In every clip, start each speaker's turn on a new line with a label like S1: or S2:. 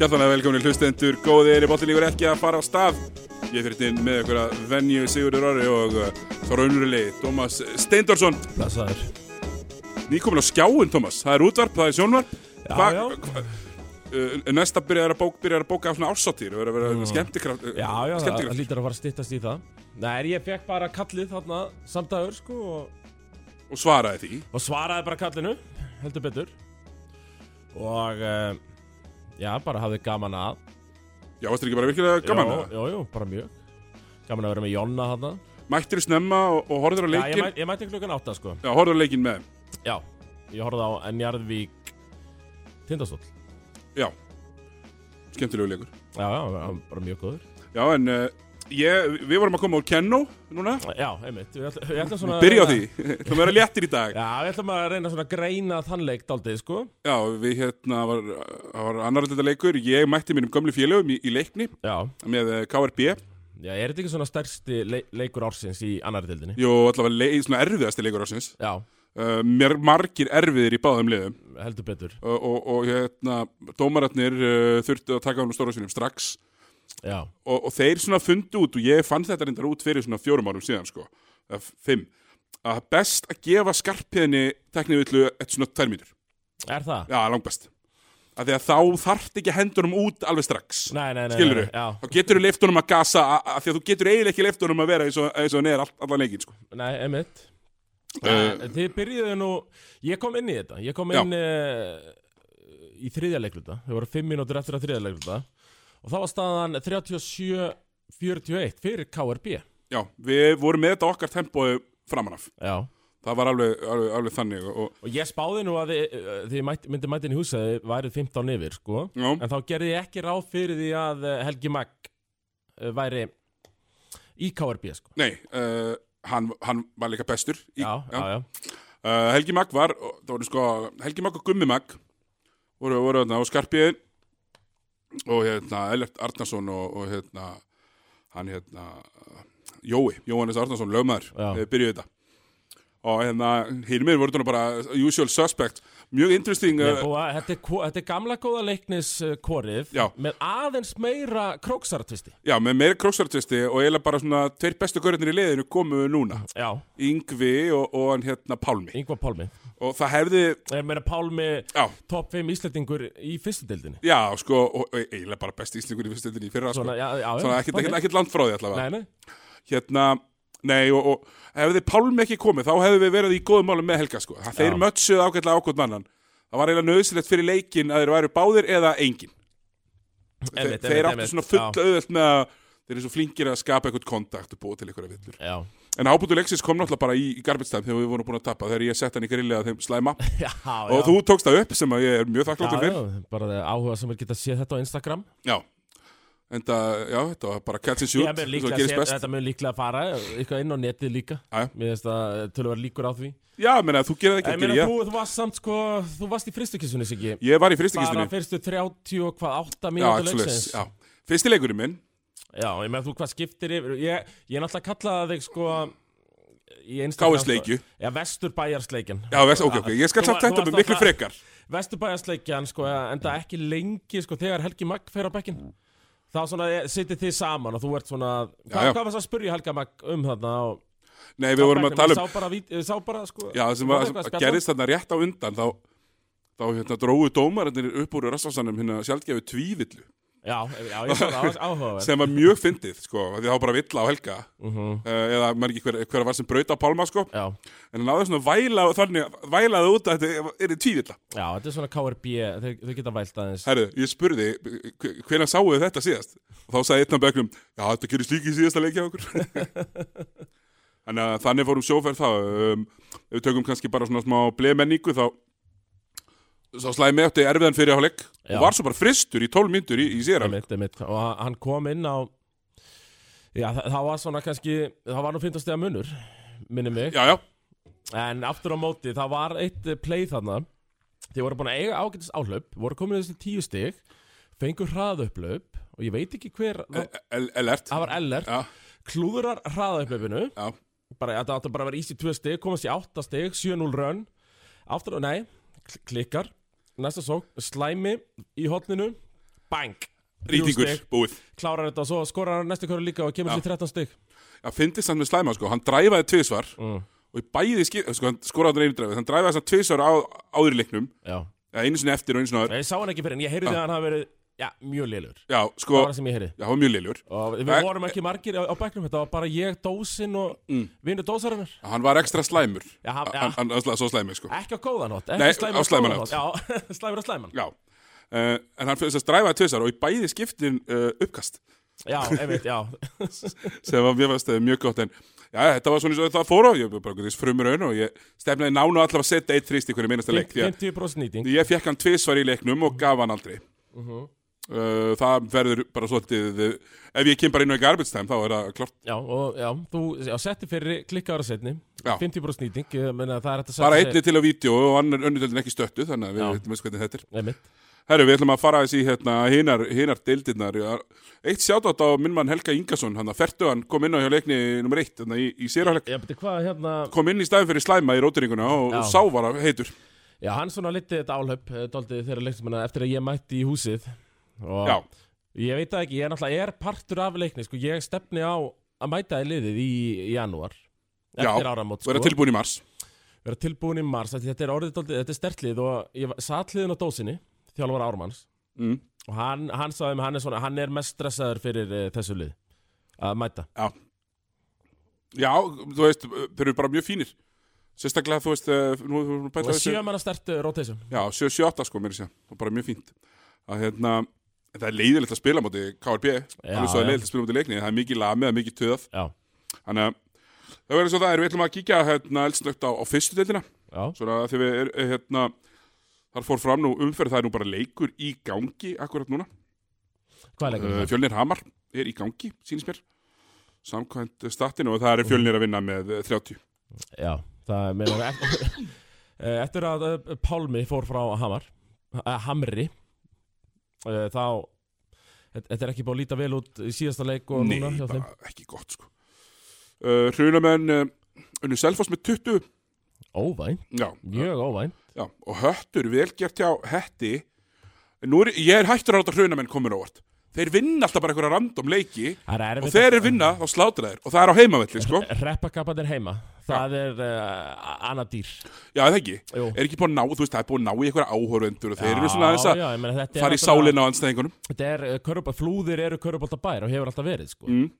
S1: Hjartanlega velkominni hlustendur, góðir, bóttilíkur ekki að fara á stað. Ég fyrir til með ykkur að venju Sigurður Orri og uh, þá raunurlegi Tómas Steindorsson.
S2: Blessaður.
S1: Nýkomin á skjáin, Tómas. Það er útvarp, það er sjónvarp.
S2: Já,
S1: Hva-
S2: já.
S1: hva- Uh, næsta byrjar að bók, byrjar að bóka af svona ársáttíð, það verður að vera skemmtikraft.
S2: Mm. Já, já, það, það
S1: skemmtikraft.
S2: lítur að fara að styttast í það. Nei, ég fekk bara kallið þarna samdagur, sko, og,
S1: Og svaraði því.
S2: og svaraði bara kallinu, heldur betur. Og, uh, já, bara hafði gaman að.
S1: Já, varstu ekki bara virkilega gaman?
S2: Jú, jú, jú, bara mjög. Gaman að vera með Jonna þarna.
S1: Mættir í snemma og, og horfður á
S2: Já, ég,
S1: leikin?
S2: mæ, ég mætti klukkan átta, sko.
S1: Já, horfður á leikin með. þeim.
S2: Já, ég horfði á Njarðvík Tindastóll.
S1: Já, skemmtilegu leikur.
S2: Já, já, hann var bara mjög góður.
S1: Já, en uh, ég, við vorum að koma úr Kenno núna.
S2: Já, einmitt. Ég ætla, ég ætla svona...
S1: Byrja á því. Það verður léttir í dag.
S2: Já, við ætlum að reyna svona að greina þann leik daldið, sko.
S1: Já, við hérna, var, það var annar þetta leikur, ég mætti mínum gömlu félögum í, í leikni
S2: Já,
S1: með eh, KRB,
S2: Já, er þetta ekki svona stærsti le leikur ársins í annari dildinni?
S1: jú, allavega leið, svona erfiðasti leikur ásins,
S2: Já,
S1: uh, mér margir erfiðir í báðum liðum uh,
S2: heldur betur.
S1: og, og hérna, dómararnir uh, þurftu að taka hann á stóra sinum strax
S2: Já,
S1: og, og þeir svona fundu út og ég fann þetta reyndar út fyrir svona fjórum árum síðan sko, eða f- fimm, að best að gefa skarpiðinni teknivillu eitt svona tvær mínur,
S2: er það?
S1: já, langbest að því að þá þarft ekki hendunum út alveg strax
S2: Nei, nei, nei.
S1: skilur
S2: nei, nei,
S1: þá getur þú leiftunum að gasa a- a- af því að þú getur eiginlega ekki leiftunum að vera eins og, eins og hann er all, allan leikin sko.
S2: Já, nei, emitt.
S1: Eh,
S2: Uh, Þið byrjuðu nú, ég kom inn í þetta, ég kom
S1: Já.
S2: inn uh, í þriðja leikluta, þau voru fimm mínútur eftir að þriðja leikluta og þá var staðan 37-41 fyrir KRB.
S1: já, við vorum með þetta okkar tempói framanaf
S2: Já,
S1: það var alveg, alveg, alveg þannig og, og,
S2: og ég spáði nú að þið, eh, þið mætt, myndi mættin í húsa þið værið 15 yfir, sko.
S1: já,
S2: En þá gerði ég ekki ráð fyrir því að eh, Helgi Magg eh, væri í KRB sko.
S1: nei uh, hann, hann var líka bestur í,
S2: Já, já, já,
S1: Uh, Helgi Magg var, og það voru sko Helgi Magg og Gummi Magg voru, voru þarna og Skarpiðin og hérna Ellert Arnason og, og hérna hann hérna Jói, Jóhannes Arnason, lögmaður
S2: Já.
S1: eh, byrjuðu þetta og hérna Hilmir voru þarna bara usual suspect mjög interesting
S2: Nei,
S1: uh,
S2: búa, þetta, er, ko- þetta er gamla góða leiknis eh, korið
S1: Já.
S2: með aðeins meira króksartvisti
S1: já, með meira krossartisti og eiginlega bara svona tveir bestu görðinir í liðinu komu núna
S2: Já,
S1: Yngvi og, og hann hérna Pálmi
S2: Yngvar Pálmi
S1: og það hefði,
S2: Ég meina Pálmi,
S1: já,
S2: topp 5 íslendingur í fyrstu deildinni
S1: já sko og, og eiginlega bara besti íslingur í fyrstöndinni í fyrra sko.
S2: Svona, já, já, já,
S1: Svona ekkert, ekkert,
S2: þannig.
S1: ekkert land frá því allavega
S2: Nei, nei,
S1: Hérna, nei og, og ef þið Pálmi ekki komið þá hefðu við verið í góðum málum með Helga sko Það- Þeir
S2: Já.
S1: mötsuðu ágætlega ákvæmt annan Það var eiginlega nöðsilegt fyrir leikin að þeir væru báðir eða engin Þeir,
S2: einmitt,
S1: þeir
S2: einmitt,
S1: áttu
S2: einmitt.
S1: svona fulla auðvelt með að Þeir eru svo flinkir að skapa eitthvað kontakt og búa til eitthvað villur
S2: Já,
S1: En ábútu leiksins kom náttúrulega bara í, í garbetstæm þegar við vorum búin að tappa Þegar ég sett hann í grillega þeim slæma
S2: já, já
S1: Og þú tókst það upp sem að ég er mjög þakkláttur
S2: já,
S1: fyrir
S2: já, bara eh, áhuga sem er geta séð þetta á Instagram
S1: Já, en það, já, þetta var bara catch and shoot
S2: Ég mun
S1: eins og
S2: líklega,
S1: gerist
S2: séð-
S1: best.
S2: Þetta mun líklega fara, eh, eitthvað inn á netið líka
S1: Já, já.
S2: Mér finnst að tölvar líkur á því
S1: Já, ég meina, þú gerir það ekki,
S2: Ég
S1: það
S2: meina,
S1: geri
S2: þú, þú varst samt sko, þú varst í fristukissunni, Siggi
S1: Ég var í fristikistunni
S2: Bara fyrstu 30 og hvað, 8
S1: Já,
S2: mínútur
S1: Axelis,
S2: leiksins
S1: já Fyrsti leikurinn minn
S2: Já, ég meina, þú hvað skiptir yfir Ég, ég náttúrulega kallaði þig sko í Instagram- sko.
S1: KS-leikju
S2: Já, Vesturbæjarsleikjan
S1: Já, veist, ok, ok, ég skal
S2: Þú
S1: samt þetta
S2: var-
S1: með
S2: þú varst
S1: miklu
S2: alltaf-
S1: frekar
S2: Vesturbæjarsleikjan, sko, en það ekki lengi sko, þegar Helgi Magg fer á bekkin Þá svona sittir þið saman og þú ert svona Hvað,
S1: já.
S2: hvað varst að spurja Helga Magg um þarna og,
S1: Nei, við vorum að tala um
S2: Sá bara, vít- sá bara sko
S1: Já, það sem
S2: var
S1: var,
S2: eitthvað að
S1: sem
S2: spjalla.
S1: gerðist þarna rétt á undan Þá, þá hérna, dróðu dómararnir upp úr rassansanum Hérna sjálfgefi tvívillu
S2: Já, já, ég svo það áhugaverð
S1: Sem var mjög fyndið, sko af Því þá var bara villa á helga
S2: mm
S1: eh, Eða, maður ekki hver, hver var sem braut á Pálma, sko
S2: Já,
S1: En hann náði svona væla, þannig, vælaði út að þetta er tvívilla
S2: já, þetta er svona KRB, þau, þau geta vælt aðeins
S1: Herðu, ég spurði, hvenær sáu þið þetta síðast? Og þá sagði einn af bögnum, já, þetta gerist líka í síðasta leikja okkur. Þannig að þannig fórum sjóferð þá. Um, ef við tökum kannski bara svona smá blemenningu, þá, þá slæði mig átti erfiðan fyrir áleik.
S2: Já.
S1: Og var svo bara fristur í 12 myndur í, í síðara.
S2: einmitt, einmitt. og hann- hann kom inn á já, þa það var svona kannski það var nú 15 stega munur minni mig,
S1: Já, já,
S2: en aftur á móti það var eitt eh, play þarna þið voru búin að eiga ágætis áhlaup voru komin þessi 10 stig fengur hraðauplaup og ég veit ekki hver það
S1: el- elert.
S2: var ellert,
S1: Já,
S2: klúðurar hraðauplaupinu
S1: já,
S2: bara, þetta átti bara að vera easy 2 stig komast í 8 stig, 7-0 run aftur á, nei, kl- klikkar Næsta sók, slæmi í hotninu Bang, Þrjú
S1: Rýtingur,
S2: stig.
S1: búið.
S2: klárar þetta og svo skorar hann næstu hverju líka og kemur
S1: Já.
S2: sér 13 stygg
S1: Það fyndist hann með slæma, sko. Hann dræfaði tvisvar
S2: mm.
S1: og í bæði skip, sko, hann skoraði hann einu dræfið. Hann dræfaði þess að tvisvar á, áður í leiknum,
S2: Já,
S1: eða einu sinni eftir og einu sinni áður.
S2: ég sá hann ekki fyrir en ég heyrði að hann hafi verið, já, mjög liður
S1: Já,
S2: Það
S1: sko,
S2: var það sem ég heyrði
S1: já, hann var mjög liðljur.
S2: Og við
S1: Nei.
S2: vorum ekki margir á, á bæknum Þetta var bara ég, dósin og mm. vinur dósarinnar
S1: Hann var ekstra slæmur.
S2: Já, hann- já.
S1: Hann- hann var svo slæmur, sko.
S2: Ekki á góðan hótt,
S1: Nei,
S2: ekki slæmur
S1: á slæman
S2: góðan hátt. Já, slæmur á slæman
S1: Já. Uh, en hann fyrir þess að dræfaði tvisvar og í bæði skiptin uh, uppkast.
S2: Já, einmitt, já
S1: sem var mjög, fast, eh, mjög gott en já, þetta var svona eins og það fór á ég bara þess frumur raun og ég stefnaði nánu allavega að setja eitt þrýst í hverju minnasta leik því að
S2: 50% nýting
S1: ég fekk hann tvisvar í leiknum og gaf hann aldrei
S2: Mhm.
S1: uh, það verður bara svolítið eh, ef ég kem bara inn á í garbage time þá er það klart
S2: Já, og já, þú já, setti fyrir klikkaður að setni
S1: Já.
S2: 50% nýting, ég meina það er hægt að
S1: bara
S2: setja
S1: einni til á vídeo og annar önnutöldin ekki stöttu þannig að við
S2: Já.
S1: veitum veist hvernig þetta er
S2: sig- Einmitt
S1: Herru, við ætlum að fara þessi hérna hinar, hinar deildirnar eitt sjátátt á minn mann Helga Ingason hann að ferdu hann kom inn á hjá leikni nummer eitt hérna, í, í sérháleik
S2: Já, beti, hvað hérna
S1: kom inn í staðin fyrir slæma í rótiringuna og, og
S2: Já.
S1: sá var að heitur
S2: Já, hann svona litið þetta eh, álöp Daldið þeirra leiksmanna eftir að ég mætti í húsið og
S1: Já,
S2: Ég veit það ekki, ég er náttúrulega er partur af leikni sko, Ég stefni á að mæta í liðið í janúar
S1: Já,
S2: Eftir áramót
S1: og
S2: sko.
S1: er tilbúin í mars
S2: vera tilbúin í mars af því Þetta er orðið daldið, þetta er stertlið og ég satt liðin á dósinni, þjálfur Ármanns
S1: mm.
S2: og hann, hann sagði mig, hann er svona, hann er mest stressaður fyrir uh, þessu lið að mæta.
S1: Já, þú veist, þeir eru bara mjög fínir Sérstaklega, þú veist, eh, nú þú
S2: Og
S1: bæta
S2: sjö manna stert uh, rotation.
S1: Já, 7-8 sko, mér sé, og bara mjög fínt að hérna, það er leiðilegt að spila móti KRB,
S2: Já,
S1: alveg svo
S2: já.
S1: er leiðilegt að spila móti leikni það er mikið lamið, það er mikið töðað
S2: Já,
S1: Þannig að það verður svo það er, við ætlum að kíkja hérna eldsnögt á, á fyrstu deildina
S2: já,
S1: Svona að þegar við er, eh, hérna þar fór fram nú umferð, það er nú bara leikur í gangi akkurat núna
S2: hvað er leikur
S1: Uh,
S2: það?
S1: Fjölnir Hamar er í gangi, sínist mér samkvæmt statinu og það er Fjölnir að vinna með eh, 30
S2: Já, það er meira eftir, Eh, eftir að uh, Pálmi fór frá Hamar, uh, Hamri, uh, þá, þetta þetta er ekki búið að líta vel út í síðasta leik og
S1: Nei,
S2: núna hjá þeim.
S1: bara ekki gott sko uh, Hrunamenn uh, unnu Selfoss með 20
S2: Óvæn,
S1: já,
S2: mjög óvæn.
S1: já, og höttur velgert hjá hetti En Nú er, ég er hættur að láta Hrunamenn komin óvart Þeir vinna alltaf bara einhverja random leiki
S2: Það er erfitt.
S1: og þeir er vinna þá slátra þeir og það er á heimavelli sko
S2: Reppakappan er heima, það er uh, annað dýr.
S1: Já, er það ekki
S2: Jú.
S1: Er ekki búin að ná, þú veist, það er búin að ná í einhverja áhorvendur og þeir eru
S2: Já,
S1: svona aðeins að
S2: já, ég meina, þetta er
S1: fara í
S2: náttúrulega-
S1: sálina á anstæðingunum
S2: þetta er uh, körubá, flúðir eru körubólta bær og hefur alltaf verið sko.
S1: Mm.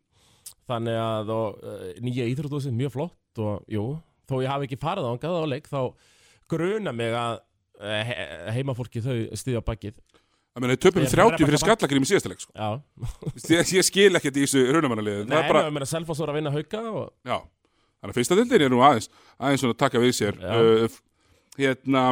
S2: þannig að og, uh, nýja íþrótúsið mjög flott og jú, þó ég hafi ekki farið ángað á leik þá gruna mig að uh, he- heimafólki þau stiðja bakið
S1: Það meina, þeir töpum
S2: Þeir
S1: 30 fyrir
S2: rebba-
S1: skallagrið í síðasta leik, sko.
S2: já,
S1: Ég, ég skil ekkert í þessu raunamannaliði.
S2: nei,
S1: Það er
S2: bara...
S1: bara,
S2: meina Selfoss voru að vinna hauka og
S1: já. Þannig að fyrsta dildin er nú aðeins, aðeins svona að taka við sér.
S2: Já.
S1: Uh, hérna,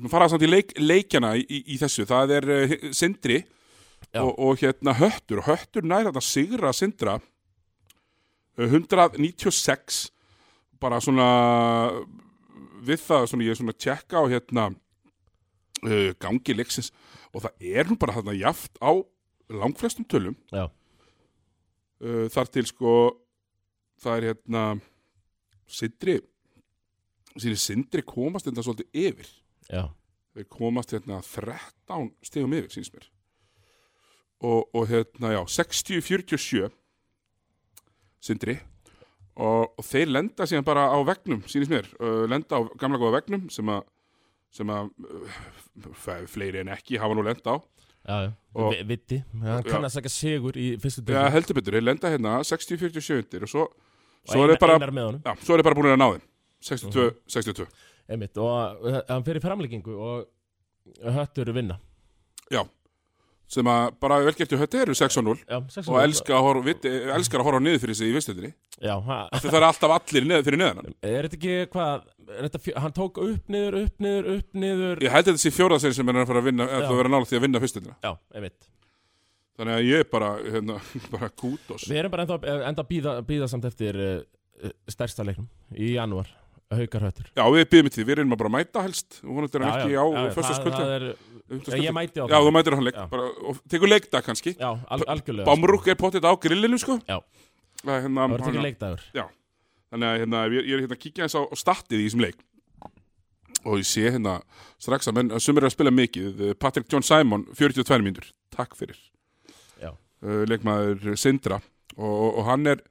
S1: nú fara samt í leik, leikjana í, í, í þessu. Það er uh, Sindri
S2: Já.
S1: og, og hérna Höttur. Og Höttur nær þarna sigra Sindra uh, 196. Bara svona við það, svona ég er svona að tjekka á hérna uh, gangi leiksins. Og það er nú bara þarna jaft á langflestum tölum
S2: já,
S1: uh, þar til sko það er hérna Sindri síni Sindri komast þetta svolítið yfir
S2: já,
S1: þeir komast hérna 13 stegum yfir síns mér og, og hérna já 60-47 Sindri og, og þeir lenda síðan bara á vegnum sínis mér, uh, lenda á gamla góða vegnum sem að sem að uh, fe- fleiri en ekki hafa nú lenda á
S2: já, já.
S1: Og-
S2: Vi, viti hann
S1: Já.
S2: kann að sækja sigur í
S1: Já,
S2: fyrstu dögum
S1: heldur betur, þeir lenda hérna 60-47 undir og svo,
S2: og
S1: svo er þeir bara
S2: einar með honum
S1: Já, svo er þið bara búin að ná þeim 62, 62
S2: einmitt, og uh, hann fer í framleggingu og höttur vinna
S1: sem að bara velgertu hötti eru 6-0
S2: já,
S1: og elskar að horfa, vit, elskar að horfa niður fyrir sig í vistundinni
S2: já, ha,
S1: því það er alltaf allir neð, fyrir neðan hann.
S2: Er þetta ekki hvað, er þetta fjö, hann tók upp, niður, upp, niður, upp, niður
S1: ég held að þetta sé fjóraðsinn sem er að fara að vinna
S2: Já.
S1: að vera nála því að vinna fyrstundina
S2: Já, einmitt
S1: þannig að ég er bara, hérna, bara kútos
S2: Við erum bara enda, enda að býða, býða samt eftir uh, stærsta leiknum í janúar Haukarhöttur
S1: já við býðum til, við erum bara að mæta helst og hún er
S2: Já,
S1: ekki á
S2: já, já, já, það- það
S1: fyrstaskvöldu
S2: er- Já, Ég mæti á
S1: já þú mætir á hann leik
S2: Já.
S1: bara, og tekur leikdag kannski
S2: Já, al algjörlega
S1: Bamrúk er pottitt á grillinu sko
S2: Já.
S1: Það er hérna,
S2: Það verður ekki
S1: hann-
S2: leikdagur
S1: Þannig að hérna, ég, ég er hérna að kíkja eins á, á statið í þessum leik og ég sé hérna strax að menn, sem eru að spila mikið eh, Patrick John Simon, 42 mínútur takk fyrir
S2: Já.
S1: Eh, leikmaður Sindra og, og, og hann er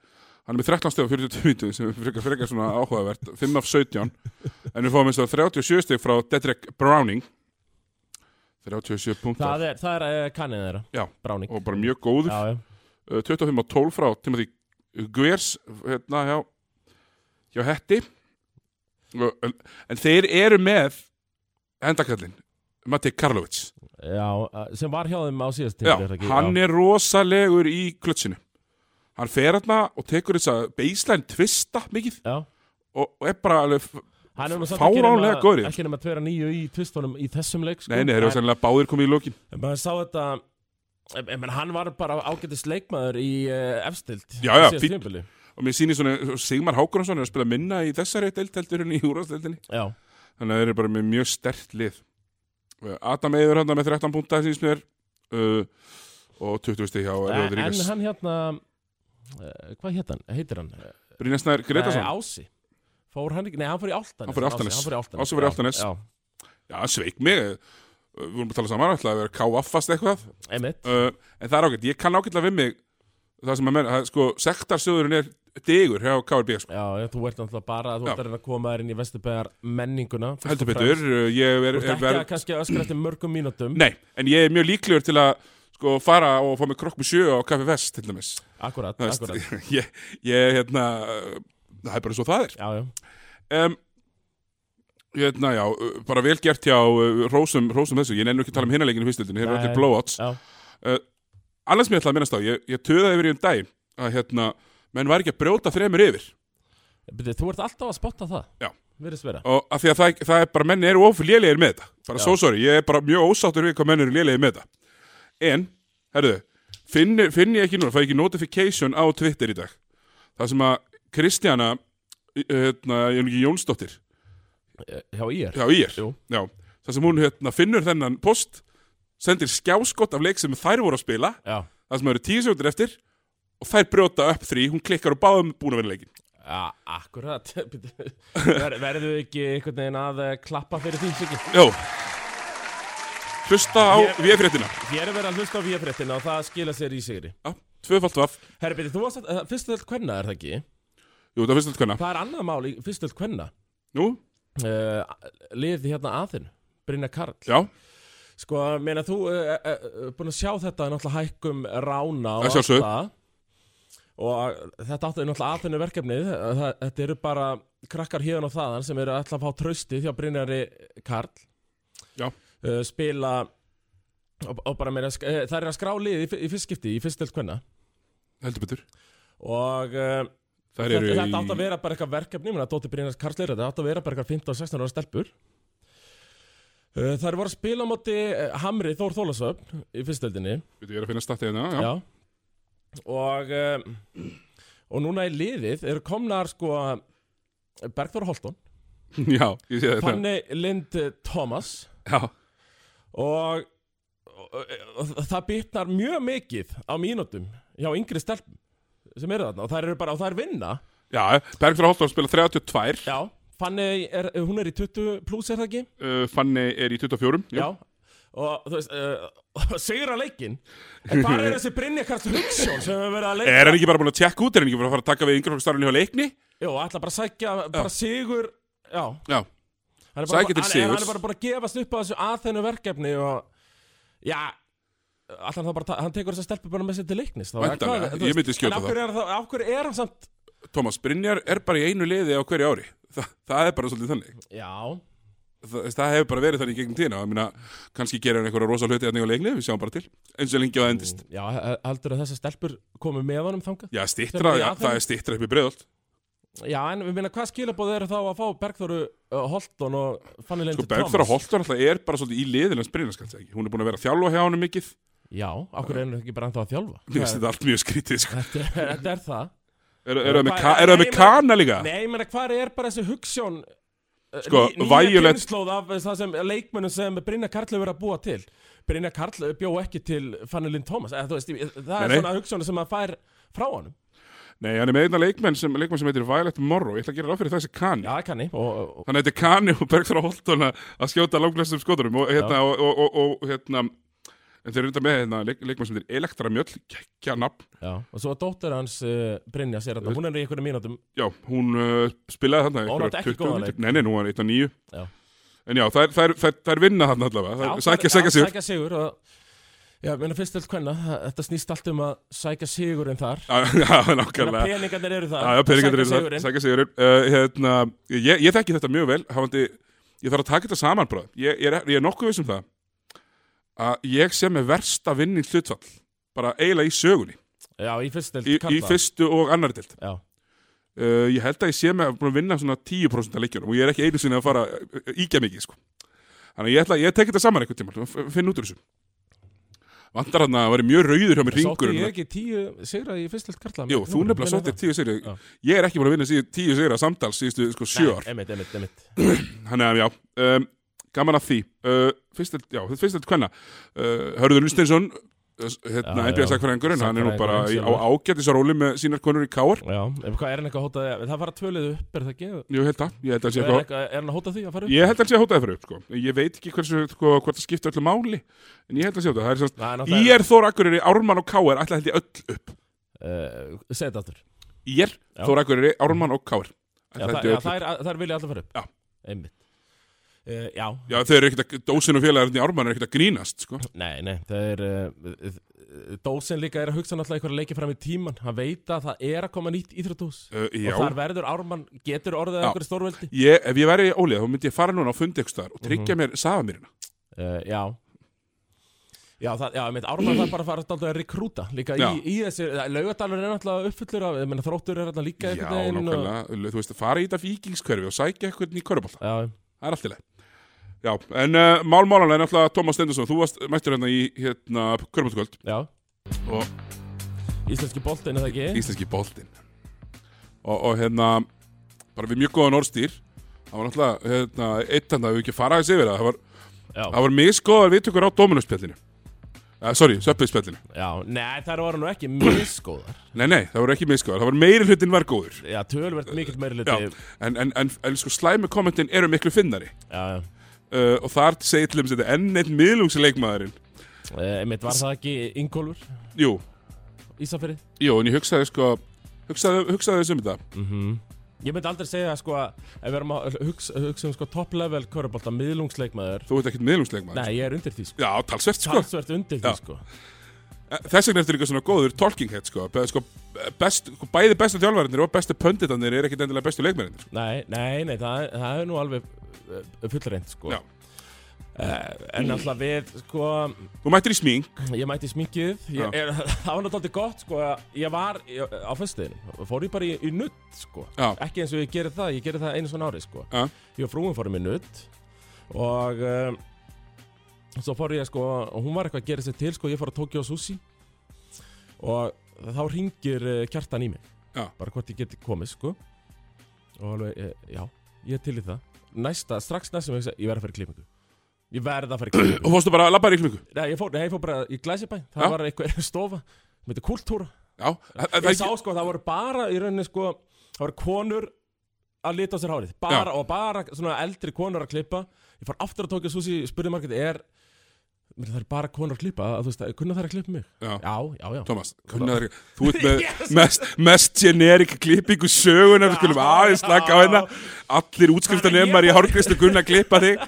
S1: hann er með 13 steg á 42 mínútur sem er frekar, frekar svona áhugavert 5 af 17 en við fáum eins og 37 steg frá Dedrick Browning 37 punktar
S2: Það er, það er uh, kannið þeirra
S1: Já.
S2: Bráning
S1: og bara mjög góður
S2: Já, já
S1: Eh, 25 á 12 frá Timothy Guers hérna hjá hjá Hetti Og- en, en þeir eru með endakallin Matti Karlovic
S2: Já, eh, sem var hjá þeim á síðast
S1: já, hann er rosalegur í klutsinu hann fer hérna og tekur þess að baseline tvista mikið
S2: Já,
S1: og, og er bara alveg f-
S2: hann er nú samt
S1: Fáránlega
S2: ekki
S1: góður í
S2: nema, ekki nema tveira nýju í tvistunum í þessum leik sko.
S1: nei, nei, þeir eru
S2: En-
S1: sennilega báðir komið í lókin
S2: en maður sá þetta en- en menn hann var bara ágætis leikmaður í uh, efstild
S1: Já, já, fínn.
S2: fín
S1: og mér sýnir svona Sigmar Hákonarsson er að spila minna í þessari deild heldur en í úrvarsdeildinni
S2: Já,
S1: Þannig að þeir eru bara með mjög stert lið Uh, Adam Eyður hann með 13 púnta síns mér uh, og 20 stík hjá
S2: en, en
S1: Rodríguez
S2: hann hérna uh, Hvað hétt hann? Heitir hann?
S1: Brynjarsnær
S2: Nei,
S1: Gretarsson,
S2: Ási Fór hann ekki, nei, hann fór í Altanes
S1: Hann fór í Álftanes.
S2: Ási, hann
S1: Ási fór
S2: fór í Altanes
S1: í Álftanes.
S2: Já,
S1: já, hann sveik mig Uh, við vorum að tala saman, ætlaði að vera káaffast eitthvað
S2: já emitt
S1: uh, en það er ágætt, ég kann ágætlega við mig það sem að menna, það er sko sektarsjóðurinn er digur hjá KRB sko.
S2: Já, já, þú ert náttúrulega bara, þú
S1: Já.
S2: ert að reyna að koma þér inn í Vesturbæjar menninguna fyrst og
S1: heldur
S2: fremst.
S1: betur, uh, ég er,
S2: Þú ert
S1: er
S2: ekki
S1: ver...
S2: að kannski að öskra eftir mörgum mínútum
S1: nei, en ég er mjög líklegur til að sko fara og fá mig krokk með sjö á Kaffi Vest til dæmis,
S2: Akkurat,
S1: Þú veist,
S2: akkurat
S1: ég, ég hérna uh, það er bara svo það er
S2: Já, já,
S1: um, hérna, já, uh, bara vel gert hjá uh, rósum, rósum þessu, ég nennu ekki að tala um hinaleikinu fyrstöldinu, hér eru
S2: Nei.
S1: allir blowouts
S2: já,
S1: annars sem ég ætla að minnast á, ég, ég töðaði yfir í um daginn að hérna, menn var ekki að brjóta þremur yfir
S2: Byrju, þú ert alltaf að spotta það
S1: Já.
S2: Virðist vera
S1: og af því að það, það er bara, menn eru of lélegir með þetta bara
S2: Já.
S1: svo sorry, ég er bara mjög ósáttur við hvað menn eru lélegir með þetta en, herðu, finn, finn ég ekki núna fæ ég ekki notification á Twitter í dag það sem að Kristjana uh, hérna, ég er nú ekki Jónsdóttir
S2: Eh, Hjá ír
S1: Já, ég
S2: Jú.
S1: Já, það sem hún hérna, finnur þennan post sendir skjáskott af leik sem þær voru að spila
S2: Já,
S1: það sem eru tíu sekundir eftir og þær brjóta upp þrý, hún klikkar og báðum búin að vera leikin
S2: já akkurat Byrju, Ver, Verðu ekki einhvern veginn að eh, klappa fyrir því sikki
S1: Jó Hlusta á
S2: Ég-
S1: VF-réttina
S2: Hér er verið að hlusta á VF-réttina og það skila sér í sigri
S1: Tvöfalt vaf,
S2: Herra, byrju, þú varst að, eh, fyrstu öll kvenna er það ekki
S1: jú það finnst þetta hvenna
S2: Það er annað mál í fyrstu öll kvenna
S1: Nú,
S2: uh, Liði hérna aðinn Brynja Karl
S1: já,
S2: Sko, meina þú uh, uh, uh, búin að sjá þetta náttúrulega hækkum rána og
S1: Að sjálfsögðu.
S2: það og eh, þetta átti náttúrulega aðfinni verkefnið Eh, það, þetta eru bara krakkar híðan og þaðan sem eru alltaf að fá tröstið hjá Brynjari Karl
S1: Já.
S2: uh, spila og, og bara meina, uh, það er að skrá lið í, fi- í fyrstskipti í fyrstild hvenna
S1: heldur betur
S2: og uh,
S1: Þær
S2: þetta,
S1: eru
S2: þetta átti að
S1: í,
S2: vera bara eitthvað verkefni menn að Dóti Brynjars Karl er þetta þetta átti að vera bara eitthvað 15 og 16 ára stelpur Uh, Það eru voru að spila á móti uh, Hamri Þór Þólasöfn í fyrstöldinni
S1: Veitu, ég er að finna statið hérna, já,
S2: Og um, Og núna í liðið eru komnar sko Bergþór Holton
S1: já ég sé þetta
S2: Fanny Lind Thomas
S1: Já,
S2: og, og, og það bitnar mjög mikið á mínútum hjá yngri stelpum sem eru þarna og það eru bara, og það er vinna
S1: já Bergþóra Holtón spila 32
S2: Já, Fanny, er, hún er í 20 pluss er það ekki?
S1: uh, Fanny er í 24 jú.
S2: Já Og þú veist, uh, sigra leikinn En hvað er þessi Brynjakast Hugsjón sem við verið að leika?
S1: Er hann ekki bara búin að tjekka út, er hann ekki bara að fara að taka við yngreflokkstarfinni hjá leikni?
S2: Jó, ætla bara að sækja, bara sigur Já,
S1: Já,
S2: hann er bara,
S1: Sækja til
S2: hann-
S1: sigurs.
S2: Hann er bara bara að gefast upp á þessu að þennu verkefni og Já Alltaf hann, bara, ta- hann tekur þess að stelpu bara með sér til leiknis þá-
S1: Væntanlega,
S2: hvað-
S1: ég
S2: þú veist,
S1: myndi skjóta
S2: en af hverju er það. En af hverju er hann samt
S1: Tómas Brynjar er bara í einu liði á hverju ári Þa, það er bara svolítið þannig
S2: Já,
S1: það, það hefur bara verið þannig í gegnum tíðina Ég meina, kannski gerir hann einhverja rosa hluti þannig á leikni, við sjáum bara til eins og lengi á það endist
S2: já, heldur að þessar stelpur komi með honum þangað?
S1: Já, stýttra,
S2: Sem-
S1: já,
S2: já,
S1: það er stýttra upp í breiðolt
S2: Já, en við minna, hvað skilabóð eru þá að fá Bergþóru uh, Holton og Fanny Lindu
S1: Sko, Bergþóra Holtur alltaf er bara svolítið í liðin hans Brynjar, skallt ekki, hún er búin að vera að þjálfa hjá hann mikið
S2: Já, okkur einu ekki bara ennþá að þjálfa
S1: Mér finnst þetta allt mjög skrítið, sko
S2: Þetta er- þetta er það
S1: Eru er, er,
S2: Hvað-
S1: er, er,
S2: Nei,
S1: með kana líka?
S2: Nei, menn hvað er bara þessi hugssjón uh,
S1: Sko,
S2: ný- nýja
S1: Violet-
S2: kynslóð af uh, það sem leikmönnum sem Brynja Karl hefur verið að búa til Brynja Karl bjó ekki til Fanny Lind Thomas eða, þú veist, ég- það
S1: Nei,
S2: er
S1: nei.
S2: svona hugssjón sem að fær frá honum
S1: Nei, hann er með einna leikmenn sem, leikmenn sem heitir Violet Morrow. Ég ætla að gera ráð fyrir þessi Kani.
S2: Já, kanni og, og,
S1: Þannig að þetta er Kani og Bergþóra Holton að að skjóta langlæstum skoturum og hérna, og, og, og, og hérna, en þeir eru þetta með hérna, leik, leikmenn sem heitir Elektra Mjöll, kekkja nafn.
S2: já. og svo að dóttir hans uh, Brynja sér að hún er í einhverjum mínútum
S1: Já, hún uh, spilaði þarna.
S2: Hún
S1: einhverjar
S2: átti ekki
S1: 20
S2: góðan
S1: mínútur.
S2: leik.
S1: Nei, nei, nú var hann 1 og 9.
S2: Já.
S1: En já, þær, þær, þær, þær vinna þarna allavega. Þær, sækja, sækja sig.
S2: Sækja sigur og, Já, minna fyrst til hvenna Þetta snýst allt um að sækja sigurinn þar
S1: Já, já,
S2: Þannig
S1: nákvæmlega.
S2: að peningarnir eru þar
S1: Já, já,
S2: að
S1: peningarnir eru
S2: sækja
S1: það,
S2: sigurinn.
S1: sækja sigurinn uh, hérna, ég, ég þekki þetta mjög vel hafandi, ég þarf að taka þetta saman bráð ég, ég, er- ég er nokkuð viss um það að ég sem er versta vinnin hlutfall bara eiginlega í sögunni
S2: Já, í fyrst til
S1: í, í fyrstu og annari dild
S2: Já,
S1: uh, ég held að ég sé með að búin að vinna svona 10% af leikjunum og ég er ekki einu sinni að fara uh, íkja mikið sko. þannig að ég, ætla, ég tek þetta saman einhvern tímann og f- finn út úr þessu vantar hann að vera mjög rauður hjá mér
S2: sótti
S1: ringur um
S2: ég ekki tíu sigra í fyrst til karla
S1: Jú, þú nefnilega sóttir tíu sigra
S2: Já.
S1: Ég er ekki búin að vinna síðu tíu sigra samtals síðustu sko, sjö ár
S2: Emitt, emitt, emitt
S1: Þannig að já, um, gaman að því uh, Fyrst eitt, já, fyrst eitt hvenna uh, Hörður Lusteinsson uh, hérna,
S2: Já,
S1: NBA
S2: já.
S1: sakfræðingurinn, hann er nú bara í, á
S2: Sagnfræðingurinn
S1: ágættisaróli með sínar konur í káar
S2: Já, ef hvað er hann eitthvað að hóta því? Það fara tvölið upp, er það ekki?
S1: Jú, held að, ég held að sé
S2: Er, hann
S1: eitthvað
S2: eitthvað, er hann að hóta því að fara upp?
S1: Ég held að sé að hótaði fyrir upp, sko Ég veit ekki hversu, sko, hvort það skipta öllu máli En ég held að sé að það er semst
S2: Nei,
S1: Ég er Þór Akureyri, Ármann og Káar, ætla held ég öll upp
S2: uh, Segð þetta aftur
S1: Ég er
S2: Já.
S1: Þór Akureyri, Ármann og Káar
S2: Já,
S1: Ætla
S2: það,
S1: held
S2: já,
S1: ég öll
S2: það, er, það er vilja alltaf fara upp
S1: Já.
S2: Einmitt uh, Já,
S1: Já, þau eru ekkert að, dósin og félagarinn í Ármann er ekkert að grínast, sko
S2: nei, nei Það er uh, Dósin líka er að hugsa náttúrulega eitthvað að leikja fram í tíman Hann veit að það er að koma nýtt íþróttús
S1: uh, Já,
S2: Og þar verður Ármann getur orðið
S1: Já.
S2: einhver stórveldi
S1: ég, ef ég væri ólíða, þá myndi ég fara núna á fundi ykkur staðar og tryggja mér safamirina.
S2: uh, Já Já, það, já, mitt Ármann þarf bara að fara alltaf að rekrúta líka í,
S1: Já.
S2: í þessi, laugadalur er náttúrulega uppfullur af, ég meina þróttur er alltaf líka
S1: Já,
S2: einhvern veginn og-
S1: nákvæmlega. Þú veist, fara í þetta vikingskverfi og sækja eitthvað í körubálta.
S2: Já,
S1: Það er allt í leið. Já, en uh, málmálanlega er náttúrulega Tómas Stendursson. Þú varst mættur hérna í hérna, körubáltakvöld
S2: já,
S1: og
S2: íslenski boltinn er það ekki
S1: íslenski bóltinn. Og, og hérna, bara við mjög góðan orðstýr. Það var náttúrulega, hérna, eitt hann að við ekki fara aðeins yfir það. Það var,
S2: Já,
S1: það var misgóðar viðtökur á Dominus-spjallinu. Uh, sorry, Söppið-spjallinu.
S2: já, nei, þær voru nú ekki miskóðar
S1: Nei, nei, það voru ekki misgóðar. Það var meiri hlutin var góður.
S2: Já, tölvert mikill meiri
S1: Já,
S2: hluti Já,
S1: en, en, en, en sko slæmi kommentin eru miklu finnari uh,
S2: já
S1: og þar segir til um þetta enn einn miðlungsleikmaðurinn
S2: Eh, Einmitt, var það ekki Ingólfur
S1: Jú,
S2: Ísafyrði?
S1: jú, en ég hugsaði sko hugsaði, hugsaði þessum þetta
S2: Ég myndi aldrei segja sko að ef við erum að hugsa, hugsa um sko top level körubólta miðlungsleikmaður
S1: Þú ert ekkert miðlungsleikmaður
S2: Nei, ég er undir því sko
S1: Já, talsvert sko
S2: Talsvert undir
S1: Já.
S2: því sko
S1: Þess vegna ertu líka svona góður talking head sko, Be- sko best, sko, Bæði bestu þjálfarinnir og bestu pönditarnir er ekkert endilega bestu leikmærindir sko.
S2: Nei, nei, nei, það, er- það er nú alveg fullreint sko
S1: Já.
S2: Eh, En alltaf við sko
S1: Þú mættir í smíng
S2: Ég mætti í sminkið
S1: Já.
S2: ég, er, Það var náttúrulega gott sko að Ég var ég, á föstudeginu Fór ég bara í, í nutt sko
S1: Já.
S2: Ekki eins og ég gerði það Ég gerði það einu svona ári sko
S1: Já.
S2: Ég og frúin fórum í nutt Og um, Svo fór ég sko Og hún var eitthvað að gera sér til sko Ég fór að Tokyo Sushi Og þá ringir uh, kjartan í mig
S1: Já.
S2: Bara hvort ég geti komið sko Og alveg, eh, já, ég er til í það Næsta, strax næsta sem ég hugsa Ég verð að fara í klippingu Ég verð að fara í klippingu
S1: og fórstu bara að labba í klingu
S2: Nei, ég fór, nei, ég fór bara í Glæsibæ Það
S1: Já.
S2: var einhver stofa Með þetta kultúra
S1: Já, það, það,
S2: Ég sá sko, það voru bara í rauninni sko Það voru konur að lita á sér hárið bara, Og bara svona eldri konur að klippa Ég fór aftur að tókja Susi Spurði margit, er meni, Það eru bara konur að klippa að, Þú veist, kunna þær að klippa mig?
S1: Já.
S2: já, já, já.
S1: Thomas, kunnaður ekki Þú ert með
S2: Yes!
S1: mest, mest generik klippingu sögunar, við skulum
S2: Já.
S1: aðeins slaka á hérna Allir útskrifta nefnar í hárgristu kunna að klippa þig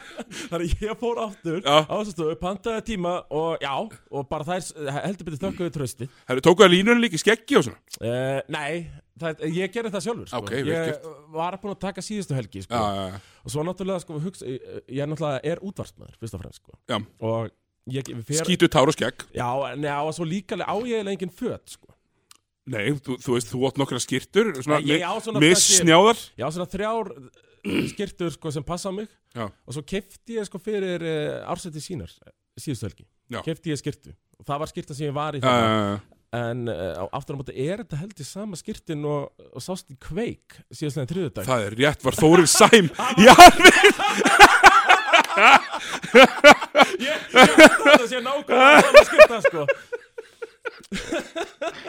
S2: Þannig að ég fór aftur
S1: Já.
S2: á þessu stofu, pantaði tíma og já, og bara þær heldur betur þökkuðu trösti.
S1: Herru, tókuðu að línunum líka í skeggi og svona
S2: Uh, nei, það, ég gerði það sjálfur, sko.
S1: Ok, vel
S2: ég
S1: gert.
S2: var búin að taka síðustu helgi, sko.
S1: Já,
S2: Og svo náttúrulega, sko, hugsa, ég, ég er náttúrulega er útvarsmaður, fyrst og fremst, sko.
S1: já, já,
S2: Og ég fer...
S1: já Skítu tár og skegg
S2: Já, en já, og svo líka á ég eiginlega engin föt, sko.
S1: Nei, þú, þú veist, þú átt nokkra skýrtur Svona,
S2: Nei, ég á svona þessi-
S1: missnjáðar
S2: Ég á svona þrjár skirtur, sko, sem passa á mig.
S1: Já.
S2: Og svo kefti ég, sko, fyrir uh, ársætti sínar, síðustu helgi.
S1: Já.
S2: Kefti ég skirtu. Og það var skirta sem ég var í
S1: Já,
S2: það.
S1: já, já.
S2: En uh, á aftur á móti er þetta held í sama skirtin og, og sást í kveik síðastlega en þriðudag.
S1: Eh, Það er rétt, var Þórir Sæm í alveg
S2: Ég, ég held að það sé nákvæmlega að skipta sko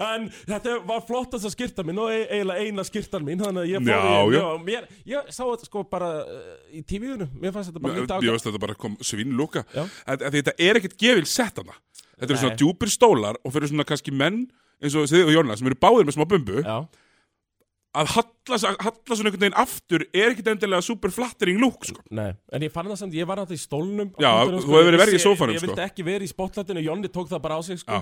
S2: Það en þetta var flottast að skýrta mín og e- eiginlega eina skýrtan mín þannig að ég
S1: Já,
S2: fór í
S1: já.
S2: já, mér, ég sá þetta sko bara eh, í tífiðinu, mér fannst þetta bara lítið
S1: Ég veist þetta bara kom svinnlúka
S2: Já.
S1: Þetta er ekkert gefil sett hana Þetta eru
S2: Nei.
S1: svona djúpir stólar og fyrir svona kannski menn eins og þið og Jónas sem eru báðir með smá bumbu
S2: Já,
S1: að halla, halla svona einhvern veginn aftur er ekkert endilega super flattering lúk sko.
S2: nei, en ég fann það samt, ég var náttúrulega í stólnum á
S1: Já,
S2: fundinum,
S1: þú hefur
S2: ég
S1: verið verið í
S2: vissi-
S1: sófanum,
S2: Ég
S1: sko.
S2: vildi ekki verið í spotlightinu, Jonni tók það bara á sig
S1: Já.
S2: sko.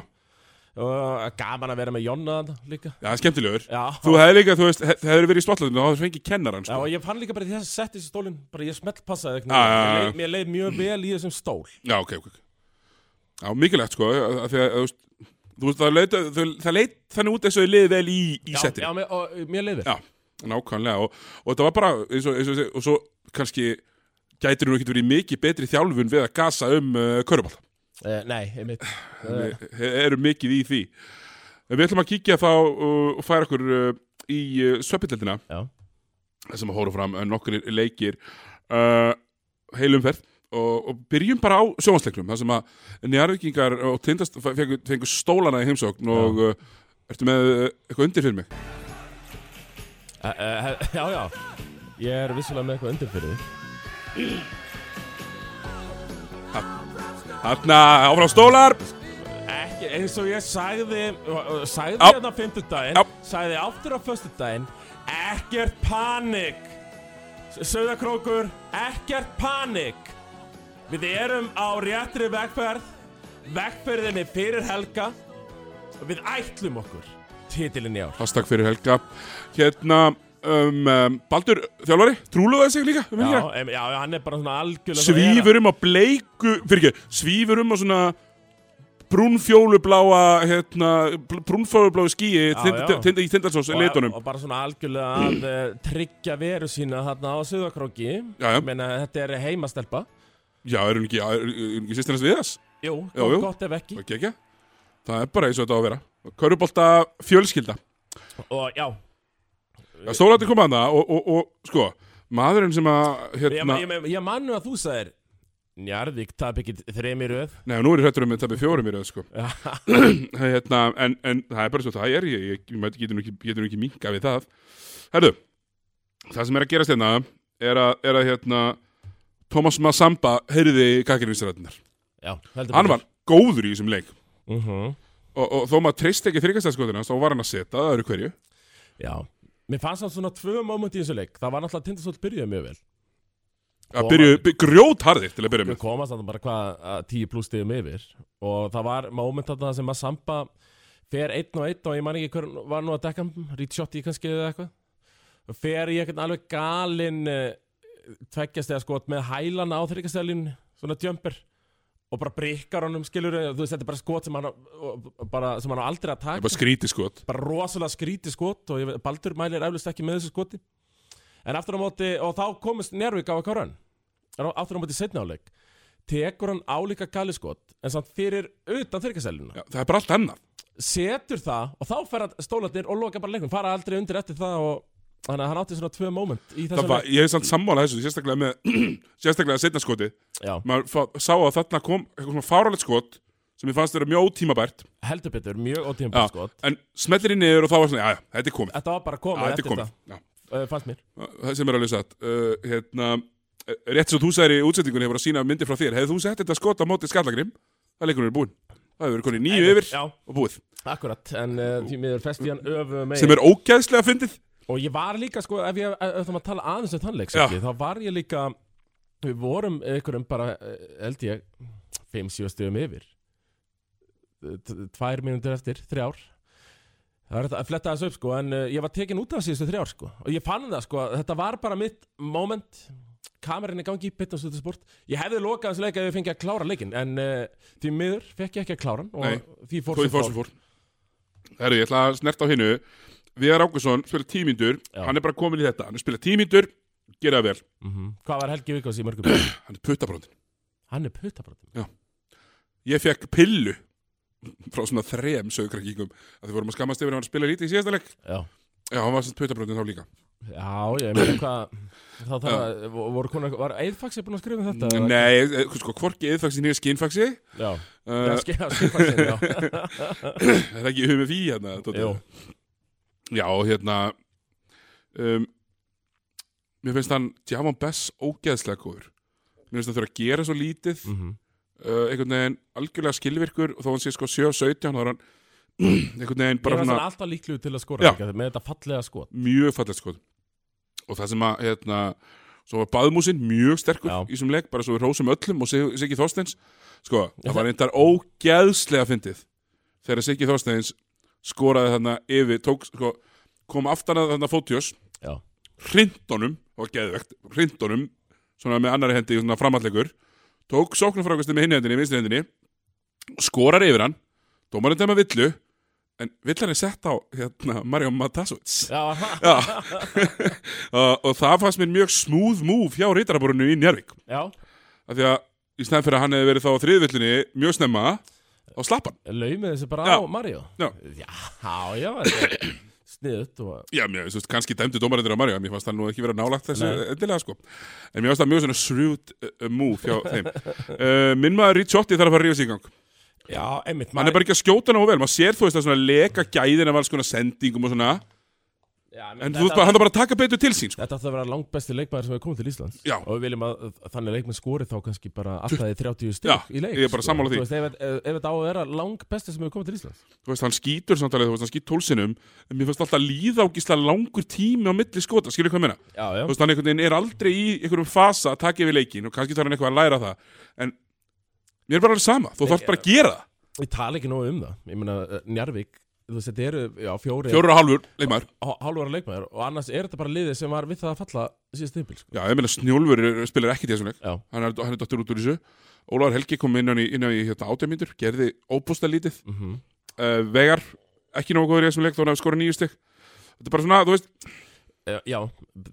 S2: og gaman að vera með Jonna þarna líka
S1: Já, það er skemmtilegur
S2: Já,
S1: Þú hefði líka, þú veist, hef- það hefði verið í stollandinu og það fengið kennaran
S2: Já,
S1: sko.
S2: og ég fann líka bara því að setja þessi stólinn, bara ég smellpassaði
S1: Já, já, já, já.
S2: Mér, leið- mér leið mjög vel í þessum stól.
S1: Já, ok, ok Já, mikilvægt sko að, að, að, að, Þú veist, það leit, það, það leit þannig út eins og þið liðið vel í, í
S2: Já,
S1: settinu
S2: Já, mér, og, uh, mér leiði.
S1: Já, nákvæmlega og, og þetta var bara eins og, eins og, og svo kannski gætir nú ekkert verið mikið betri þjálfun við að gasa um uh, körubál
S2: Uh, nei, einmitt. Uh,
S1: við erum mikið í því en við ætlum að kíkja þá uh, og færa okkur uh, í uh, sveppiteldina
S2: Eh, já,
S1: sem að hóra fram uh, nokkur leikir uh, heilumferð og, og byrjum bara á sjóhansleiknum þar sem að njarðvíkingar og tindast fengur, fengur stólana í heimsókn og uh, ertu með uh, eitthvað undir fyrir mig
S2: uh, uh, já, já. Ég er vissulega með eitthvað undir fyrir því.
S1: Þarna áfram stólar
S2: Ekki, eins og ég sagði, uh, sagði
S1: Já.
S2: hérna fymtudaginn,
S1: Já.
S2: sagði aftur á föstudaginn, ekkert panik. Söðakrókur, ekkert panik. Við erum á réttri vegferð, vegferðinni fyrir helga og við ætlum okkur titilinn í ár.
S1: Hashtag fyrir Helga Hérna, um, um, Baldur þjálfari trúluðu sig líka um
S2: Já,
S1: helgina
S2: em, já, já, hann er bara svona algjörlega
S1: Svífur um á bleiku Fyrir ekki, svífur um á svona brúnfjólubláa hérna, bl- brúnfjólubláu skíi
S2: já.
S1: tinda, tinda, í tindarsós
S2: Og-
S1: litunum
S2: Og bara svona algjörlega að eh, tryggja veru sína hérna á Suðakróki
S1: Já, já.
S2: Meina þetta er heimastelpa
S1: Já, er hún ekki, já, er er hún ekki sýstir hans við þess?
S2: Jú,
S1: Já,
S2: gott,
S1: jú.
S2: gott ef ekki
S1: Það ekki ekki Það er bara eins og þetta á að vera Körubolta fjölskylda
S2: Og já,
S1: Stólandi kom að það og, og, og sko Maðurinn sem að
S2: ég,
S1: hérna,
S2: ég, ég, ég mannu að þú sagðir Njarðvík tap ekki þremi röð
S1: Nei, nú er ég hrættur um að tapja fjórum í röð, sko.
S2: Já.
S1: hérna, en, en það er bara svo það er, ég, ég, ég mæti- getur nú ekki, getur nú ekki minga við það. Herðu, það sem er að gerast hérna er að, er að hérna, Thomas Massamba heyrði kakirinsræðinar.
S2: Já, heldur
S1: Hann var góður í þessum leik
S2: uh -huh.
S1: og, og þó maður treyst ekki þryggastæðskotina, þá var hann að setja, það eru hverju.
S2: Já, mér fannst hann svona tvö moment í þessu leik Það var náttúrulega tindasótt byrjuð mjög vel
S1: Að byrju, by, grjótharðir til að byrja
S2: Við
S1: með.
S2: komast þannig bara hvað að tíu pluss stigum yfir Og það var moment þarna sem að Samba Fer einn og einn og ég man ekki hver var nú að dekka Rítsjótti kannski eða eitthvað Fer í eitthvað alveg galinn Tveggjast eða skot með hælana á þryggastælin Svona jumper Og bara brikkar honum skilur Þú veist þetta er bara skot sem hann, á- og- og bara, sem hann á aldrei
S1: Það
S2: að
S1: er
S2: taka
S1: bara skrítið sko. skot.
S2: bara rosalega skríti skot og ég veit, Baldur mælir eflust ekki með þessu skoti en aftur á móti, og þá komist Njárvík á að kára hann En á- aftur á móti setna áleik tekur hann álíka gali skot en samt fyrir utan þyrkasæluna
S1: Já, það er bara allt annað.
S2: setur það og þá fer hann stólarnir og loka bara leiknum fara aldrei undir eftir það og þannig að hann átti svona tvö moment í
S1: Það
S2: þessu
S1: var, ég hef samt sammála þessu, sérstaklega með, sérstaklega setna skotið.
S2: leik Já,
S1: maður fá- sá að þarna kom eitthvað svona fáralegt skot sem ég fannst vera mjög ótímabært
S2: heldur betur, mjög
S1: Já,
S2: ótíðan skot
S1: en smellir í niður og þá var svona, já, já, þetta er komið
S2: Þetta var bara að
S1: Já,
S2: koma
S1: þetta er
S2: eftir
S1: komið,
S2: þetta
S1: já,
S2: uh, fannst mér
S1: það sem er alveg satt uh, hérna, eh, rétt svo þú sagðir í útsettingunni hefur að sína myndir frá þér, hefði þú sett þetta skot á móti skallagrim, það leikunum er búinn það hefur verið konið nýju yfir
S2: Já,
S1: og búið
S2: akkurat, en uh, því miður festi hann öfu með
S1: sem er ógæðslega fyndið
S2: Og ég var líka, sko, ef ég ef það maður tala aðeins um þannleik,
S1: Já.
S2: þá var ég líka, við vorum einhverjum bara, eh, held ég, 5-7 stöðum yfir. T- t- Tvær mínútur eftir, þrjár. Það er þetta að fletta þessu upp, sko, en eh, ég var tekin út af síðustu þrjár, sko. Og ég fann það, sko, að þetta var bara mitt moment, kamerin er gangi í bitn og stöðu sport. Ég hefði lokað þessu leik ef ég fengi að klára leikin, en uh, því miður fekk ég ekki að klára hann og
S1: Nei.
S2: því fór
S1: Tói
S2: sem
S1: Fórsum fór Herru, ég ætla að snerta á hinnu Viðar Ákvæsson spila tímindur
S2: Já.
S1: hann er bara komin í þetta, hann er spila tímindur gera það vel,
S2: Mhm. Hvað var Helgi Vikos í mörgum?
S1: hann er puttabróndin
S2: Hann er putabrotum.
S1: ég fekk pillu frá svona þrem sögurkrakkingum að þið vorum að skammast yfir að hann var að spila lítið í síðasta leik
S2: Já.
S1: já, hann var svona putabröndin þá líka
S2: Já, ég meina hvað Það þarf að, voru konar, var Eidfaxi búin að skrifa um þetta?
S1: Nei, eh, sko, hvorki eðfaxi nýja skinnfaxi
S2: Já,
S1: uh,
S2: uh, skifaxin, já
S1: Það er ekki humið fí hérna Doddi?
S2: Jú,
S1: Já, hérna um, Mér finnst hann Javon Bess ógeðslega góður Mér finnst hann þurfa að gera svo lítið
S2: mhm,
S1: uh, einhvern veginn algjörlega skilvirkur og þó hann sé sko 7-17 þá er hann einhvern veginn
S2: Ég
S1: bara
S2: finnst
S1: svona
S2: hann alltaf líklu til að
S1: Já.
S2: skora líka, með þetta fallega skot
S1: mjög fallegt sko og það sem að hérna, svo var baðmúsin mjög sterkur
S2: Já.
S1: í þessum leik bara svo við rósum öllum og Sig- Siggi Þorsteins sko,
S2: Já,
S1: það var einnig ógeðslega fyndið þegar Siggi Þorsteins skoraði þarna yfir tók, sko, kom aftan að þarna fótjós
S2: Já,
S1: hrindunum, það var geðvegt hrindunum, svona með annari hendi svona framallegur, tók sóknarfrákastin með hinni hendinni, vinstri hendinni skorar yfir hann, dómarinn dæma villu en villan er sett á hérna, Mario Matasovits
S2: já, ha,
S1: Já, uh, og það fannst mér mjög smúð múf hjá reytaraborinu í Njárvík
S2: já
S1: af því að í snæð fyrir að hann hefði verið þá á þriðvillinni mjög snemma og slapp hann.
S2: Laumið þessi bara á
S1: Já.
S2: Mario
S1: Já.
S2: já, já þetta er Sniðut og
S1: Já, mér, þú veist, kannski dæmdu dómarindir á Mario, en mér fannst það nú ekki vera nálagt þessu
S2: Nei.
S1: endilega, sko. En mér fannst það mjög svona shrewd uh, uh, move hjá þeim. Uh, minn maður Ricciotti þarf að fara að rífa sig í gang.
S2: Já, einmitt
S1: Hann er bara ekki að skjóta nógu vel, maður sér þú veist að svona leka gæðin af alls konar sendingum og svona,
S2: já,
S1: en þú veist bara, hann þarf bara að taka betur til sín, sko.
S2: Þetta ætti að vera langt besti leikmaður sem hefur komið til Íslands
S1: Já.
S2: Og við viljum að þannig leikmenn skori þá kannski bara alltaf í 30 stík
S1: Já,
S2: í leik
S1: ég er bara
S2: sko.
S1: sammála því.
S2: Þú veist, ef, ef, ef þetta á að vera langt besti sem hefur komið til Íslands
S1: Þú veist, hann skýtur samtalið, þú veist, hann skýt tólsinum, en mér fannst alltaf líða ágislega langur tími á milli skota, skilur hvað ég meina?
S2: Já, já
S1: þú veist, hann einhvern veginn er aldrei í einhverjum fasa að taka yfir leikin og kannski þarf hann eitthvað að læra það en mér er bara alveg sama, þú þarfst bara að gera það
S2: Ég tala ekki nógu um það Ég meina, eh, Njarðvík Þú veist, þetta eru, já, fjóri
S1: fjóru og hálfur leikmaður,
S2: Hálfara leikmaður Og annars er þetta bara liðið sem var við það að falla síðast tímpil sko.
S1: já, ég meina Snjólfur er- spilar ekki í þessum leik,
S2: Já,
S1: hann er, hann er dottur út úr þessu Ólaður Helgi kom innan í, innan í hérna, átæmyndur, gerði óbústa lítið
S2: mm
S1: uh, Vegar, ekki nógu góður í þessum leik þó hann hefði skorað nýju stygg þetta er bara svona, þú veist,
S2: Eh, já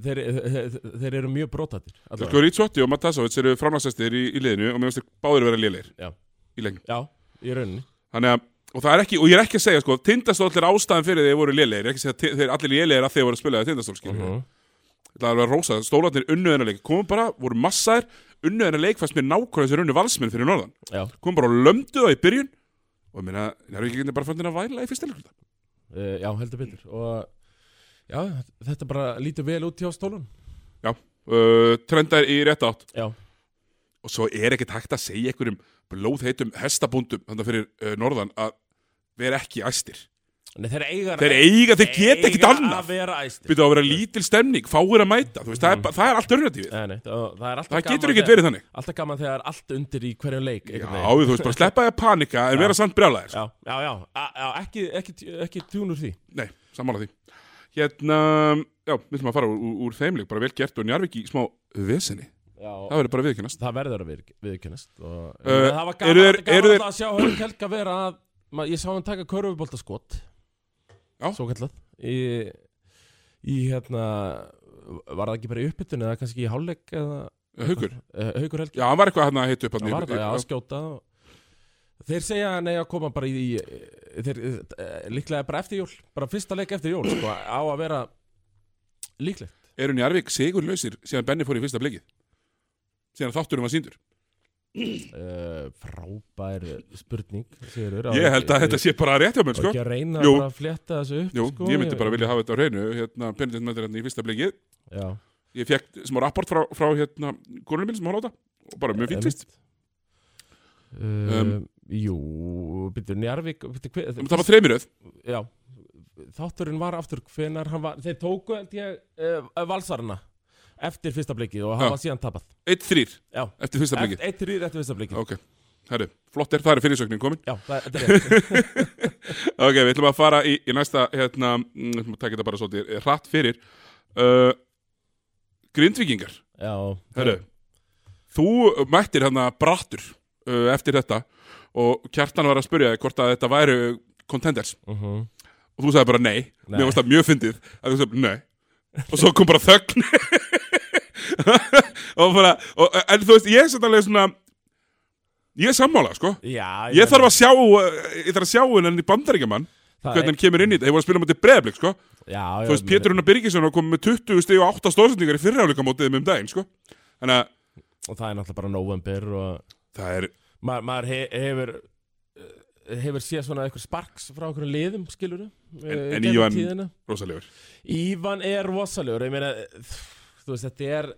S2: þeir, þeir, þeir eru mjög brotatir
S1: það
S2: allavega.
S1: sko Rítsótti og Matasovits eru framlagsæstir í, í liðinu og mér finnst þeir báðir vera lélegir
S2: Já.
S1: í leiknum
S2: Já, í rauninni
S1: Þannig að, og það er ekki, og ég er ekki að segja sko, tindastól er ástæðan fyrir þeir voru lélegir, ég er ekki að segja að ti- þeir allir lélegir að þeir voru að spila það tindastól, skilur
S2: Mhm.
S1: Það er alveg að rósa, stólarnir unnu þennan leik, komum bara, voru massaðir, unnu þennan leik, fannst mér nákvæmlega þessir unnu valsmenn fyrir norðan.
S2: Já,
S1: Komum bara og lömdu það í byrjun, og ég meina, það er ekki bara fannir að væla í fyrst elgur þetta.
S2: uh, já, heldur betur Og já, þetta bara lítur vel út hjá stólun
S1: Uh, trendar í rétt átt,
S2: Já,
S1: og svo er ekkert hægt að segja einhverjum blóðheitum hestabundum, þannig fyrir uh, norðan, að vera ekki æstir.
S2: Nei, þeir eiga
S1: Þeir eiga, þeir geta ekkert annað.
S2: að vera æstir
S1: Byrðu á að vera lítil stemning, fáir að mæta, þú veist, það er, bara- það er alternativið.
S2: Nei, nei, það, það er alltaf
S1: Það
S2: gaman
S1: getur ekkert
S2: þegar-
S1: verið þannig.
S2: Alltaf gaman þegar allt undir í hverjum leik
S1: Já,
S2: einhvern veginn.
S1: þú veist, bara sleppa því að panika en vera samt brjálæðir.
S2: já, já, já, a- já ekki, ekki, ekki tjúnur því
S1: Nei, sammála því. Hérna, já, við ætlum að fara úr, úr, úr þeimleik, bara vel gert og Njarvík í smá vesenni.
S2: já,
S1: Það verður bara viðkynast.
S2: það verður að við, viðkennast og,
S1: Uh,
S2: það
S1: eru
S2: var gaman,
S1: þeir-
S2: þeir, gaman
S1: eru
S2: þeir...
S1: þeir-
S2: að sjá Hörg Helga vera að ma, ég sá hann taka körfuboltaskot
S1: Já.
S2: svo kallað í, í hérna var það ekki bara í uppbytun eða kannski í hálfleik eða
S1: Haukur,
S2: uh, haukur Helgi
S1: já, hann var eitthvað hérna að hitta upp
S2: það
S1: hann.
S2: var það að skjóta og... þeir segja nei að koma bara í, í þeir, eh, líklega bara eftir jól bara fyrsta leik eftir jól sko, á að vera líklegt
S1: Eru Njarvík sigurlausir síðan Benni fór í fyrsta blikið? Síðan þátturum var síndur.
S2: uh, frábær spurning Sigurður,
S1: Ég held að þetta sé bara rétt hjá mér,
S2: sko?
S1: sko.
S2: ekki að reyna
S1: Jú.
S2: bara að flétta þessu upp
S1: Jú,
S2: sko?
S1: ég myndi bara vilja hafa þetta á reynu, hérna, Benedikt mættir hérna í fyrsta blikið.
S2: já,
S1: Ég fekk smá rapport frá, frá hérna, konunum minn sem hann láta og bara mjög fínt fyrst.
S2: uh,
S1: Um,
S2: jú, byrju, Njarvík byrju, hver,
S1: Það var þreymuröð.
S2: já, þátturinn var aftur hvenar hann var, þeir tóku held ég, uh, valsarana eftir fyrsta blikið og hann
S1: Já.
S2: var síðan tapað
S1: 1-3
S2: já,
S1: eftir fyrsta blikið.
S2: eitt rýr eftir fyrsta blikið
S1: Ok, herru, flott er, það er fyrirsöknin komin
S2: já, það, þetta er rétt
S1: Ok, við ætlum að fara í, í næsta hérna, mm, við ætlum að taka þetta bara svolítið hratt fyrir uh, Grindvíkingar
S2: já,
S1: Herru, þú mættir hérna brattur uh, eftir þetta og kjartan var að spurja þig hvort að þetta væru contenders
S2: uh
S1: og þú sagði bara nei,
S2: Nei.
S1: mér varst það mjög fyndið að þú sagði nei og svo kom bara þögn og bara og, en þú veist, ég er sannlega svona ég er sammála, sko
S2: já
S1: Ég þarf að sjá, uh, ég þarf að sjá hennan hérna í bandaríkjaman
S2: Það
S1: hvernig hann kemur inn í þetta, þeir voru að spila mútið breðablik sko.
S2: er, já, já,
S1: þú veist, Pétur Unnar Birgisson var komið með 20 stig og 8 stóðsendingar í fyrirháleika mótið um daginn sko. þannig að
S2: og það er náttúrulega bara november og
S1: það er
S2: maður, maður he, hefur eh, hefur séð svona eitthvað sparks frá einhverjum liðum eh, skilur
S1: En- en Ívan- rosalegur
S2: Ívan er rosalegur ég meina, eh, þú veist, þetta er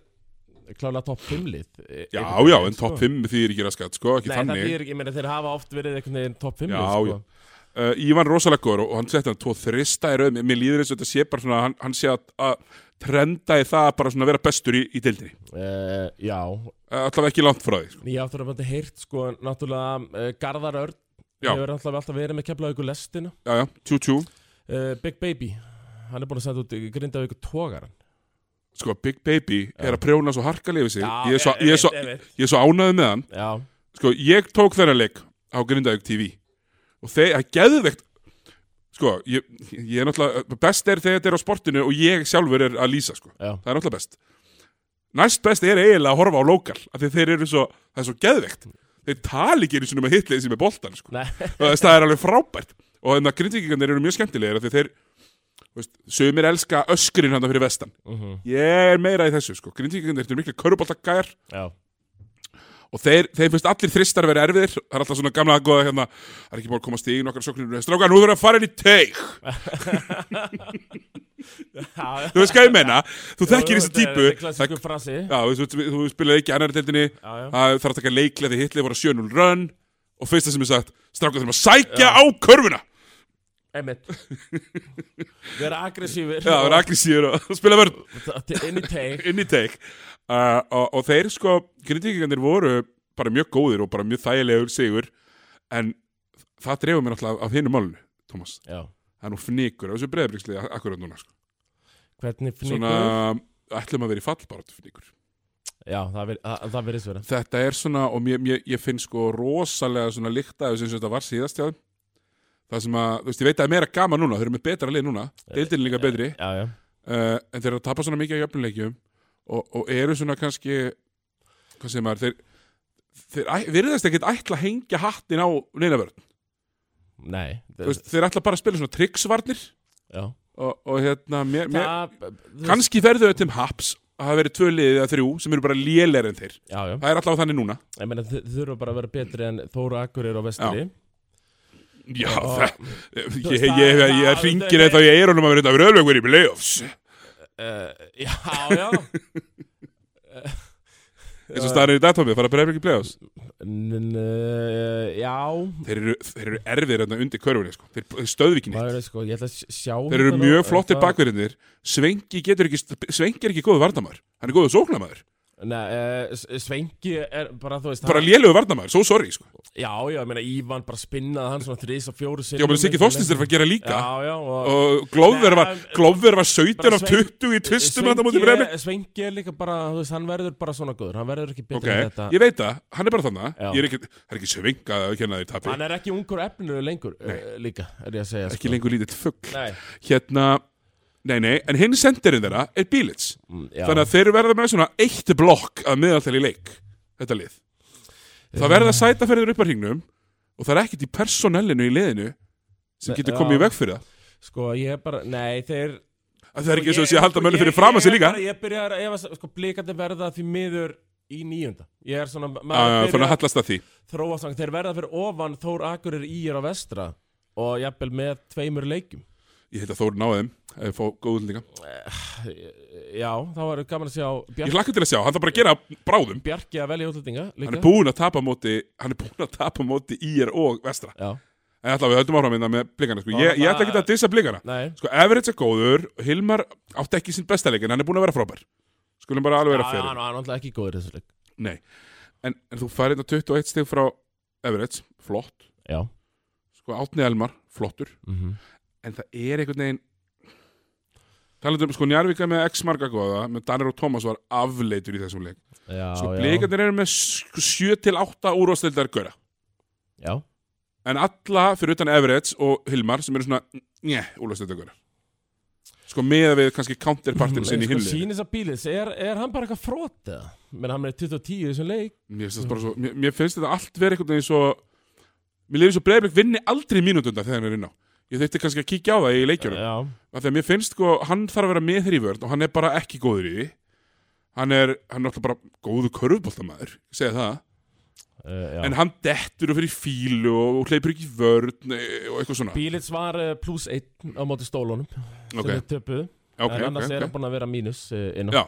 S2: klálega topp 5 lið eh,
S1: já,
S2: einhvern
S1: já,
S2: veginn,
S1: en topp 5 þýðir ekki raskat sko, ekki
S2: Nei, það
S1: þannig
S2: þýðir ekki, ég meina, þeir hafa oft verið einhvern veginn topp 5
S1: Já,
S2: lið,
S1: já.
S2: sko.
S1: uh, Ívan rosalegur og hann setti hann tvo þrista í rauð, Mér- mér líður þess að þetta sé bara svona hann, hann sé að, að trenda í það bara svona að vera bestur í, í deildinni,
S2: Uh, já,
S1: uh, allavega ekki langt frá því sko.
S2: Ég áttur að bæta heyrt sko Náttúrulega uh, Garðar Örn
S1: Já.
S2: Hefur náttúrulega alltaf verið með keflaðu ykkur lestina
S1: já, já, tjú tjú,
S2: uh, Big Baby Hann er búin að senda út grindaðu ykkur tógaran
S1: sko Big Baby er að prjóna svo harkalega yfir sig ég er svo,
S2: ég,
S1: ég er svo,
S2: ég,
S1: ég er svo ánæði með hann
S2: Já,
S1: sko, ég tók þeirra leik á Grindavík TV og þeir, það geðu veikt sko, ég, ég er náttúrulega best er þegar þetta er á sportinu og ég sjálfur er að lýsa, sko,
S2: já,
S1: það er náttúrulega best næst best er eiginlega að horfa á lokal af því þeir eru svo, það er svo geðveikt þeir tali ekki einu sinni um að hitlega sem er boltan sko.
S2: Nei.
S1: Og þess- það er alveg frábært og þannig að grindvíkingarnir eru mjög skemmtilegir af því þeir, þú veist, sögumir elska öskrin hann fyrir vestan,
S2: mm
S1: ég er meira í þessu sko, grindvíkingarnir eru miklu köruboltakæjar
S2: já
S1: og þeir, þeir finnst allir þristar að vera erfiðir það er alltaf svona gamla að góða hérna það er ekki búin að koma stígin okkar sóknir strákar, nú þurfum við að fara inn í teik
S2: Já,
S1: þú veist hvað ég menna, þú
S2: jú,
S1: þekkir þessi
S2: þetta er-
S1: típu
S2: Þetta er klassísku frasi
S1: já, þú, veist, þú, þú spilaði ekki í annari deildinni
S2: Já, já
S1: það þarf að taka leiklega því hitlið voru að 7-0 run og fyrsta sem ég sagt, strákar þurfum að sækja á körfuna
S2: Einmitt Vera aggressífir
S1: já, það er aggressíður og spila vörn
S2: aggressífir Inn í teik
S1: inn í teik uh, og, og þeir sko, grindvíkingarnir voru bara mjög góðir og bara mjög þægilegur sigur en það drefur mér alltaf af hinu málunni, Thomas
S2: Já
S1: það er nú fnikur á þessu breyðabriksliði akkurat núna sko.
S2: Hvernig fnýkur
S1: svona, ætlum að vera í fallbáratu fnikur
S2: Já, það veri- það- það verið sverið
S1: þetta er svona, og mér, mér, ég finn sko rosalega svona líkta af þessu eins og þetta var síðast hjá þeim. það sem að, þú veist, ég veit að það er meira gaman núna þeir eru með betra lið núna, deildin er líka betri uh,
S2: Já, já
S1: en þeir eru að tapa svona mikið á jöfnuleikjum og, og eru svona kannski hvað segir maður, þeir þeir æ- virðast ekkert ætla að hengja hattin á neinavörn,
S2: Nei
S1: þú veist, þeir ætla bara að spila svona triksvarnir
S2: Já
S1: og, og hérna, mér, mér,
S2: Það þú veist-
S1: Kanski verður þau til haps að það verið tvö liðið eða þrjú sem eru bara lélæri en þeir.
S2: Já, já
S1: Það er allavega þannig núna.
S2: Ég meina þau þau þurfa bara að vera betri en Þóra Akureyri og Vestri
S1: Já,
S2: Og-
S1: það,
S2: Þú
S1: ég,
S2: veist,
S1: ég,
S2: það-
S1: ég,
S2: það-
S1: ég
S2: það-
S1: ringir eða þá ég er honum að vera þetta röðlögur í playoffs.
S2: uh, Já, já
S1: Eins og staðan er í datómið, fara að breyfa ekki playoffs.
S2: N uh, Já
S1: Þeir eru, þeir eru erfir þarna undir körfunni, sko. Þeir, þeir stöðvikinni.
S2: maður er sko, ég ætla að sj- sjá
S1: Þeir eru
S2: þetta nú,
S1: mjög flottir
S2: það-
S1: bakverðinir. Svengi getur ekki, Svengi er ekki góðu varnamæður. Hann er góðu sóknamæður.
S2: Nei, uh, Svengi er bara, þú veist
S1: Bara
S2: hann-
S1: lélögu varnamæður, svo sorry, sko.
S2: Já, já, ég meina Ívan bara spinnaði hann svona þrís og fjóru sinni
S1: Já, menn Siggi Þorstins er að gera líka.
S2: Já, já, og,
S1: Og Glóver var,
S2: Nei,
S1: Glóver var 17
S2: bara
S1: af
S2: Sven-
S1: 20 í tvistum að það mútið breyfa.
S2: Svengi, Svengi er líka bara, þú veist, hann verður bara svona góður Hann verður ekki
S1: Ok,
S2: betri en þetta
S1: ég veit það, hann er bara þannig
S2: Já.
S1: Ég er ekki, það er ekki svinga að kenna þér tapi
S2: Hann er ekki ungur efnur lengur, uh, líka, er ég að segja sko.
S1: Ekki lengur lítill fugg
S2: Nei,
S1: Hérna, nei nei, en hinn sendirinn þeirra er Bílits
S2: mm, já
S1: Þannig að þeir verða með svona eitt blokk að meðaltæli í leik Þetta lið Það verða sætaferður upp að hringnum Og það er ekkert í personellinu í liðinu Sem
S2: Nei,
S1: getur
S2: já.
S1: komið í veg fyrir það
S2: Sko, ég er bara, nei, þeir
S1: Af því Það er ekki eins og
S2: Ég-
S1: sé að halda
S2: sko,
S1: mönnum
S2: ég-
S1: fyrir fram að
S2: ég
S1: sér
S2: er
S1: líka
S2: bara- Ég byrjar að ef að sko, blikandi verða því miður í níunda Ég er svona,
S1: Ah,
S2: maður
S1: Þannig að
S2: byrjar að
S1: hallast að því
S2: þróa svona Þeir verða fyrir ofan Þór Akurir í er á vestra Og jafnvel með tveimur leikjum
S1: Ég heit að Þóri náðum Eh, Fá góð útlendinga
S2: Já, þá var gaman að sjá
S1: Ég
S2: Bjark,
S1: hlakka til að sjá, hann þarf bara að gera bráðum
S2: Bjarki að velja útlendinga
S1: Hann er
S2: líka
S1: búinn að tapa á móti Hann er búinn að tapa á móti IR og Vestra
S2: Já,
S1: En alltaf við höldum áfram innan með blikana sko. ég, ég ætla ekki að dissa blikana
S2: nei
S1: Sko, Everett er góður, Hilmar átti ekki sín besta leik en hann er búinn að vera frábær Skulum bara alveg vera
S2: Já, já, hann
S1: fyrir
S2: var náttúrulega ekki góður í þessu leik
S1: Nei, en, en þú hérna færið þetta 21 stig frá Everett, flott
S2: Já
S1: Sko, Átni Elmar, flottur
S2: mm
S1: En það er einhvern veginn Talandi um, sko, Njarvíka með X marga góða með Danir og Tómas var afleitur í þessum leik
S2: Já,
S1: Sko,
S2: já
S1: blikarnir eru með 7-8 úrvastildar góra
S2: Já,
S1: En alla fyrir utan Everett og Hilmar sem eru svona, njæ, úrlöfstöðdökur Sko meða við kannski counterpartin sinni í
S2: sko,
S1: hillu
S2: Sýnis að bílis, er, er hann bara eitthvað frótið? Menn hann er 2010 í þessum leik
S1: Mér finnst þetta bara svo, mér, mér finnst þetta allt verið einhvern veginn svo Mér lefði svo breyðblik vinni aldrei mínútundar þegar hann er inn á ég þyrfti kannski að kíkja á það í leikjunum
S2: Já,
S1: af því að mér finnst sko, hann þarf að vera með þér í vörn og hann er bara ekki góður í því hann er, hann er alltaf bara góðu körfuboltamaður, ég segi það
S2: uh, já.
S1: en hann dettur og fyrir fílu og, og hleypur ekki í vörn eh, og eitthvað svona
S2: Bílits var uh, pluss 1 á móti stólunum sem
S1: ok,
S2: við töpuðu
S1: ok,
S2: en annars
S1: ok,
S2: er
S1: ok
S2: hann búin að vera mínus uh, inn
S1: Já.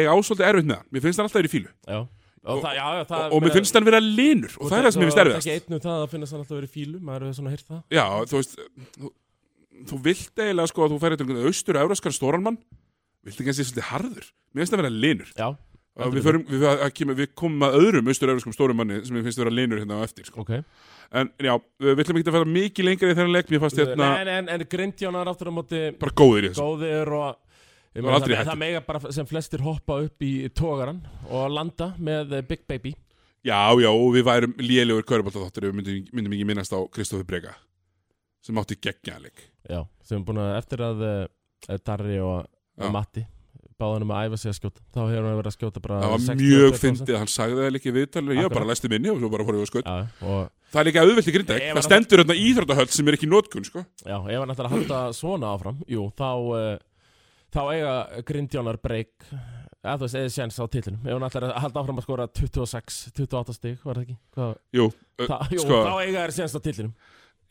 S1: ég á svolítið erfitt með hann, mér finnst hann alltaf verið í fílu
S2: Já. Og, það, já, já, það,
S1: og, og mér finnst hann vera linur og það er það sem mér finnst
S2: Það er
S1: erfiðast
S2: ekki einn um það að finnast hann alltaf verið fílu, maður hefur svona heyrt það.
S1: Já, þú veist þú, þú vilt eiginlega sko að þú færi eitthvað austur euróskar stóranmann viltu kannski svolítið harður mér finnst það vera linur
S2: Já,
S1: Og við, förum, við, að- að kemur, við komum að öðrum austur-európskum stórumanni sem við finnst vera linur hérna á eftir sko.
S2: ok.
S1: en já, við ætlum ekki að fara mikið lengra í þennan leik mér fannst hérna
S2: En, en, en Grindjónar aftur á móti
S1: bara góðir í þessu
S2: góðir og... ég
S1: Var
S2: meina,
S1: aldrei
S2: það,
S1: hættur.
S2: það mega bara sem flestir hoppa upp í tógaran og landa með eh, Big Baby.
S1: já, já, og við værum lélegur köruboltaþáttur ef við myndum, myndum ekki minnast á Kristoffer Brega sem átti geggjaðan leik
S2: Já, sem er búin að eftir að eh, Darri og
S1: Já.
S2: Matti báðanum að æfa sig að skjóta þá hefur hann verið að skjóta bara
S1: það var
S2: 60
S1: mjög
S2: 20%.
S1: fyndið, hann sagði það líka í viðtalinu ég var bara
S2: Akkurat.
S1: læsti minni og svo bara fór ég á skut
S2: Já, og
S1: það er líka auðvilt í grindæk,
S2: Ef
S1: það
S2: hann-
S1: stendur hérna íþróttahöld sem er ekki í notkun, sko
S2: já, ef hann ætlar að halda svona áfram jú, þá uh, þá eiga grindjónar breyk eða þú veist, eða séns á titlinum ef hann ætlar að halda áfram að skora 26 28 stig, var það ekki? Hvað,
S1: Jú, uh,
S2: það, jú,
S1: sko-
S2: þá eiga þær séns á titlinum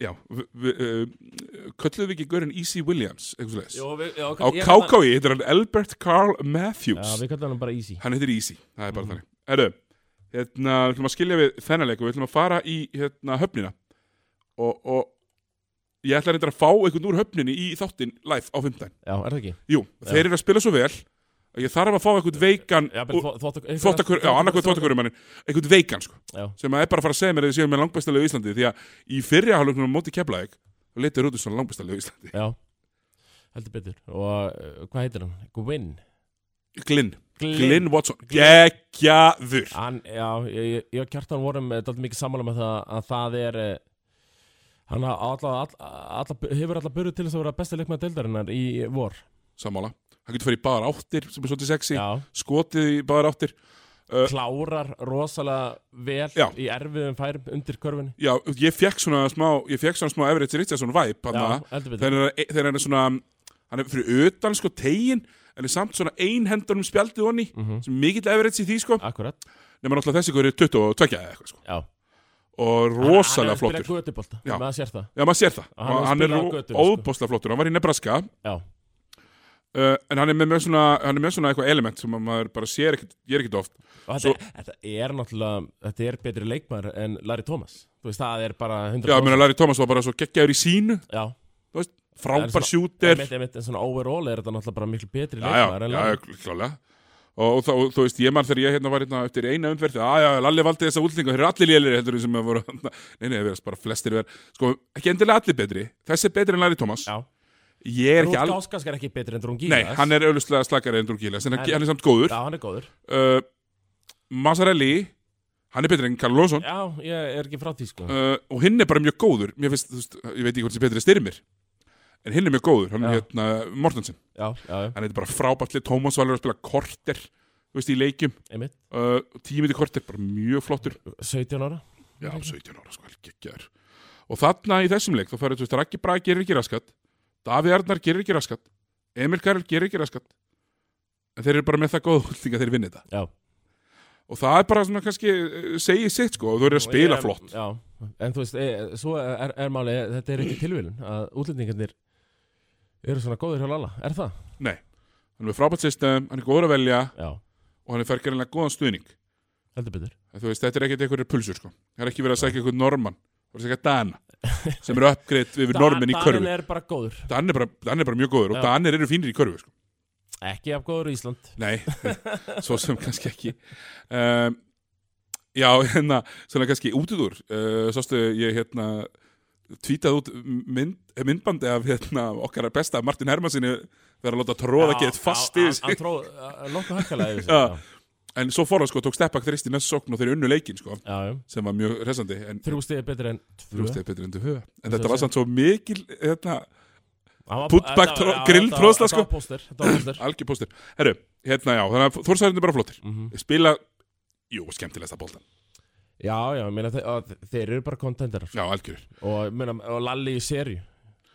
S1: já, vi, vi, uh, kölluðu við ekki Görin Easy Williams, eitthvað slags
S2: jú, við, já,
S1: á KKI heitir hann Albert Carl Matthews
S2: Já, við Mhm. kallum hann bara easy
S1: hann heitir Easy, það er bara þannig Herru, hérna, við ætlum að skilja við þennan leik og við ætlum að fara í hérna, höfnina og, og ég ætla reyndar að fá einhvern úr höfninni í þáttinn live á 15
S2: Já, er það ekki?
S1: Jú, þeir eru að spila svo vel að ég þarf að fá einhvern veikan
S2: Já,
S1: og-
S2: þvóttakur
S1: þvottakur, já, annarkvæð þvottakurumanninn einhvern veikan, sko,
S2: Já,
S1: sem að er bara að fara að segja mér að þið séum með langbæstalegu í Íslandi því að í fyrri hálfleiknum á móti keflaðið þá letur út svona langbæstalegu í Íslandi
S2: já Heldur betur Og uh, hvað heitir hann? Gwyn
S1: Glynn,
S2: Glyn.
S1: Glynn Watson, geggjaður
S2: Hann, já, ég, ég- ég og Kjartan vorum daldið mikið sammála með það að það er eh, hann á alla, alla, alla, hefur alltaf burðu til þess að vera besti leikmaður deildarinnar í vor
S1: sammála, hann getur farið í bara áttir sem er svolítið sexy,
S2: já,
S1: skotið í bara áttir
S2: klárar rosalega vel
S1: Já.
S2: í erfiðum færum undir körfunni
S1: Já, ég fekk svona smá ég fekk svona smá Everett Richardson væp
S2: já,
S1: þegar
S2: heldur betur
S1: hann er- þegar hann er svona hann er fyrir utan sko tegin en er samt svona einhendanum spjaldið honni
S2: mm
S1: sem er mikill Everett í því sko
S2: akkurat
S1: nema náttúrulega þessi hverju 22 eða eitthvað sko
S2: já.
S1: og rosalega
S2: hann, hann er að
S1: flottur
S2: spila götubólta
S1: Já.
S2: maður sér það
S1: Já, maður sér það
S2: Og hann er að
S1: og hann er
S2: spila á götunni, sko.
S1: óbóslega flottur hann var í Nebraska
S2: já,
S1: uh, en hann er með, með svona hann er með svona eitthvað element sem að maður bara sér ekkit, ég er ekkit oft
S2: og þetta,
S1: Svo-
S2: þetta er náttúrulega þetta er betri leikmaður en Larry Thomas þú veist, það er bara 100%
S1: Já, ég meina Larry Thomas var bara svo geggjaður í sínu
S2: já. Það er
S1: frábær
S2: svona-
S1: sjúter
S2: Einmitt, einmitt, en svona overall er þetta náttúrulega bara miklu betri
S1: Já, já,
S2: leikmaður en
S1: já,
S2: Larry
S1: já, kl- klálega Og, og, þá- og þú veist, ég mann þegar ég hérna var hérna eftir eina umferð að já, Lalli valdi þessa útlendinga, þeir eru allir lélir heldur en sem að voru, nei, nei, það verðast bara flestir verð, sko, ekki endilega allir betri þessi er betri en Larry Thomas,
S2: já.
S1: ég er
S2: Rúf
S1: ekki all...
S2: Gáskans er ekki betri en Drún
S1: nei,
S2: Gílas
S1: hann er auðvitað slakari en Drúkílas, en hann,
S2: En-
S1: hann er samt góður
S2: Já, hann er góður
S1: uh, Mazzarelli hann er betri en Karl Lónsson uh,
S2: Já, ég er ekki frá því sko
S1: og hinn er bara mjög góður, mér finnst, þú veist, ég veit ekki hvort sem betri styrmir, en hinn er mjög góður hann er
S2: Já.
S1: hérna Mortensen,
S2: Já, já, já,
S1: hann er bara frábært lið, Tómas Valur að spila korter, þú veist, í leikjum
S2: einmitt
S1: uh, tímiti kortir, bara mjög flottur
S2: 17 ára
S1: já, 17 ára, sko, helgi ekki þær og þarna í þessum leik, þá færðu, þú veist, Raggi Braga gerir ekki raskat, Davi Arnar gerir ekki raskat Emil Karel gerir ekki raskat en þeir eru bara með það góða húlding að þeir vinni þetta
S2: Já
S1: og það er bara svona kannski, eh, segið sitt sko, og þú eru að
S2: Og
S1: spila
S2: ég-
S1: flott
S2: Já, en þú veist, e, svo er, er máli Þetta er ekki tilvílun að útlendingarnir eru svona góðir hjá Lalla Er það?
S1: nei, hann er með frábært system, hann er góður að velja
S2: Já,
S1: og hann er fergerinlega góðan stuðning
S2: heldur betur
S1: En þú veist, þetta er ekkert einhverjir pulsur sko það er ekki verið að segja einhvern norman það er að segja Dana, sem eru uppgreitt yfir normin í
S2: Dan
S1: körfi
S2: er bara góður
S1: Dan er bara, Dan er bara mjög góður og
S2: Já.
S1: Danir eru fínir í körfi sko.
S2: Ekki af góður í Ísland
S1: Nei, svo sem kannski ekki um, Já, hérna svona kannski út úr uh, Sástu ég hérna tvítið út mynd, eh, myndbandi af hérna, okkar besta Martin Hermansinni verið að láta tróða
S2: Já,
S1: gett fast
S2: já,
S1: í
S2: hann-
S1: sig
S2: Hann tróð nokkuð harkalega yfir sig
S1: Já.
S2: já.
S1: En svo fór hann sko, tók steppak þrist í næstu sókn og þeir unnu leikinn sko,
S2: Já, já
S1: sem var mjög resandi en
S2: Þrjú stiði betur en tvö
S1: þrjústið betur endur höfa En
S2: Þess að
S1: þetta var
S2: segja.
S1: samt svo mikil hérna,
S2: Hann var-
S1: Putback
S2: þetta-
S1: tró-
S2: já,
S1: grilltróðsla,
S2: þetta-
S1: sko.
S2: Þetta var póster Þetta var póster
S1: algjör póstur Herru, hérna já, þannig að Þórsæðurinn er bara flottir
S2: Mhm.
S1: Spila, jú, skemmtilegsta bóltan
S2: Já, já, ég meina, þe- að þeir eru bara kontenderar
S1: Já, algjör.
S2: og, ég meina, og Lalli í serju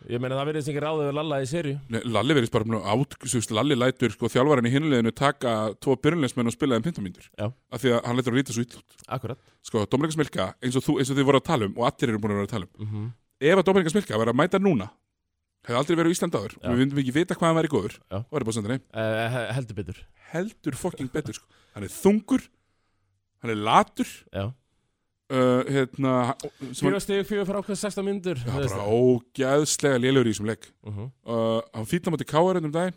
S2: Ég meina, það verðist ekki ráðið við Lalla í serju
S1: Nei, Lalli verðist bara búin að át, þú veist, Lalli lætur sko þjálfarinn í hinleginu taka tvo byrjunleismenn og spila þeim pintamíndur.
S2: Já.
S1: Af því að hann lætur að rýta svo illa út.
S2: Akkurat
S1: Sko, Dominika Smilka, eins og, þú, eins og þið voru að tala um og allir eru búin að vera að tala um.
S2: mm -hmm.
S1: Ef að Dominika Smilka verið að mæta núna, hefði aldrei verið á Ísland áður.
S2: Já.
S1: Við myndum ekki vita hvað hann væri góður.
S2: Já.
S1: Og verið bara að senda neim.
S2: Eh, Heldur betur
S1: Heldur fokking betur, sko. Hann er þungur, hann er latur,
S2: Já
S1: uh, hérna, sem hann,
S2: Fjóra stig, fjóra frá hvað 16 myndur
S1: já, bara ógæðslega lélegur í þessum leik.
S2: -huh.
S1: Uh, hann fýtla mátti káar um daginn,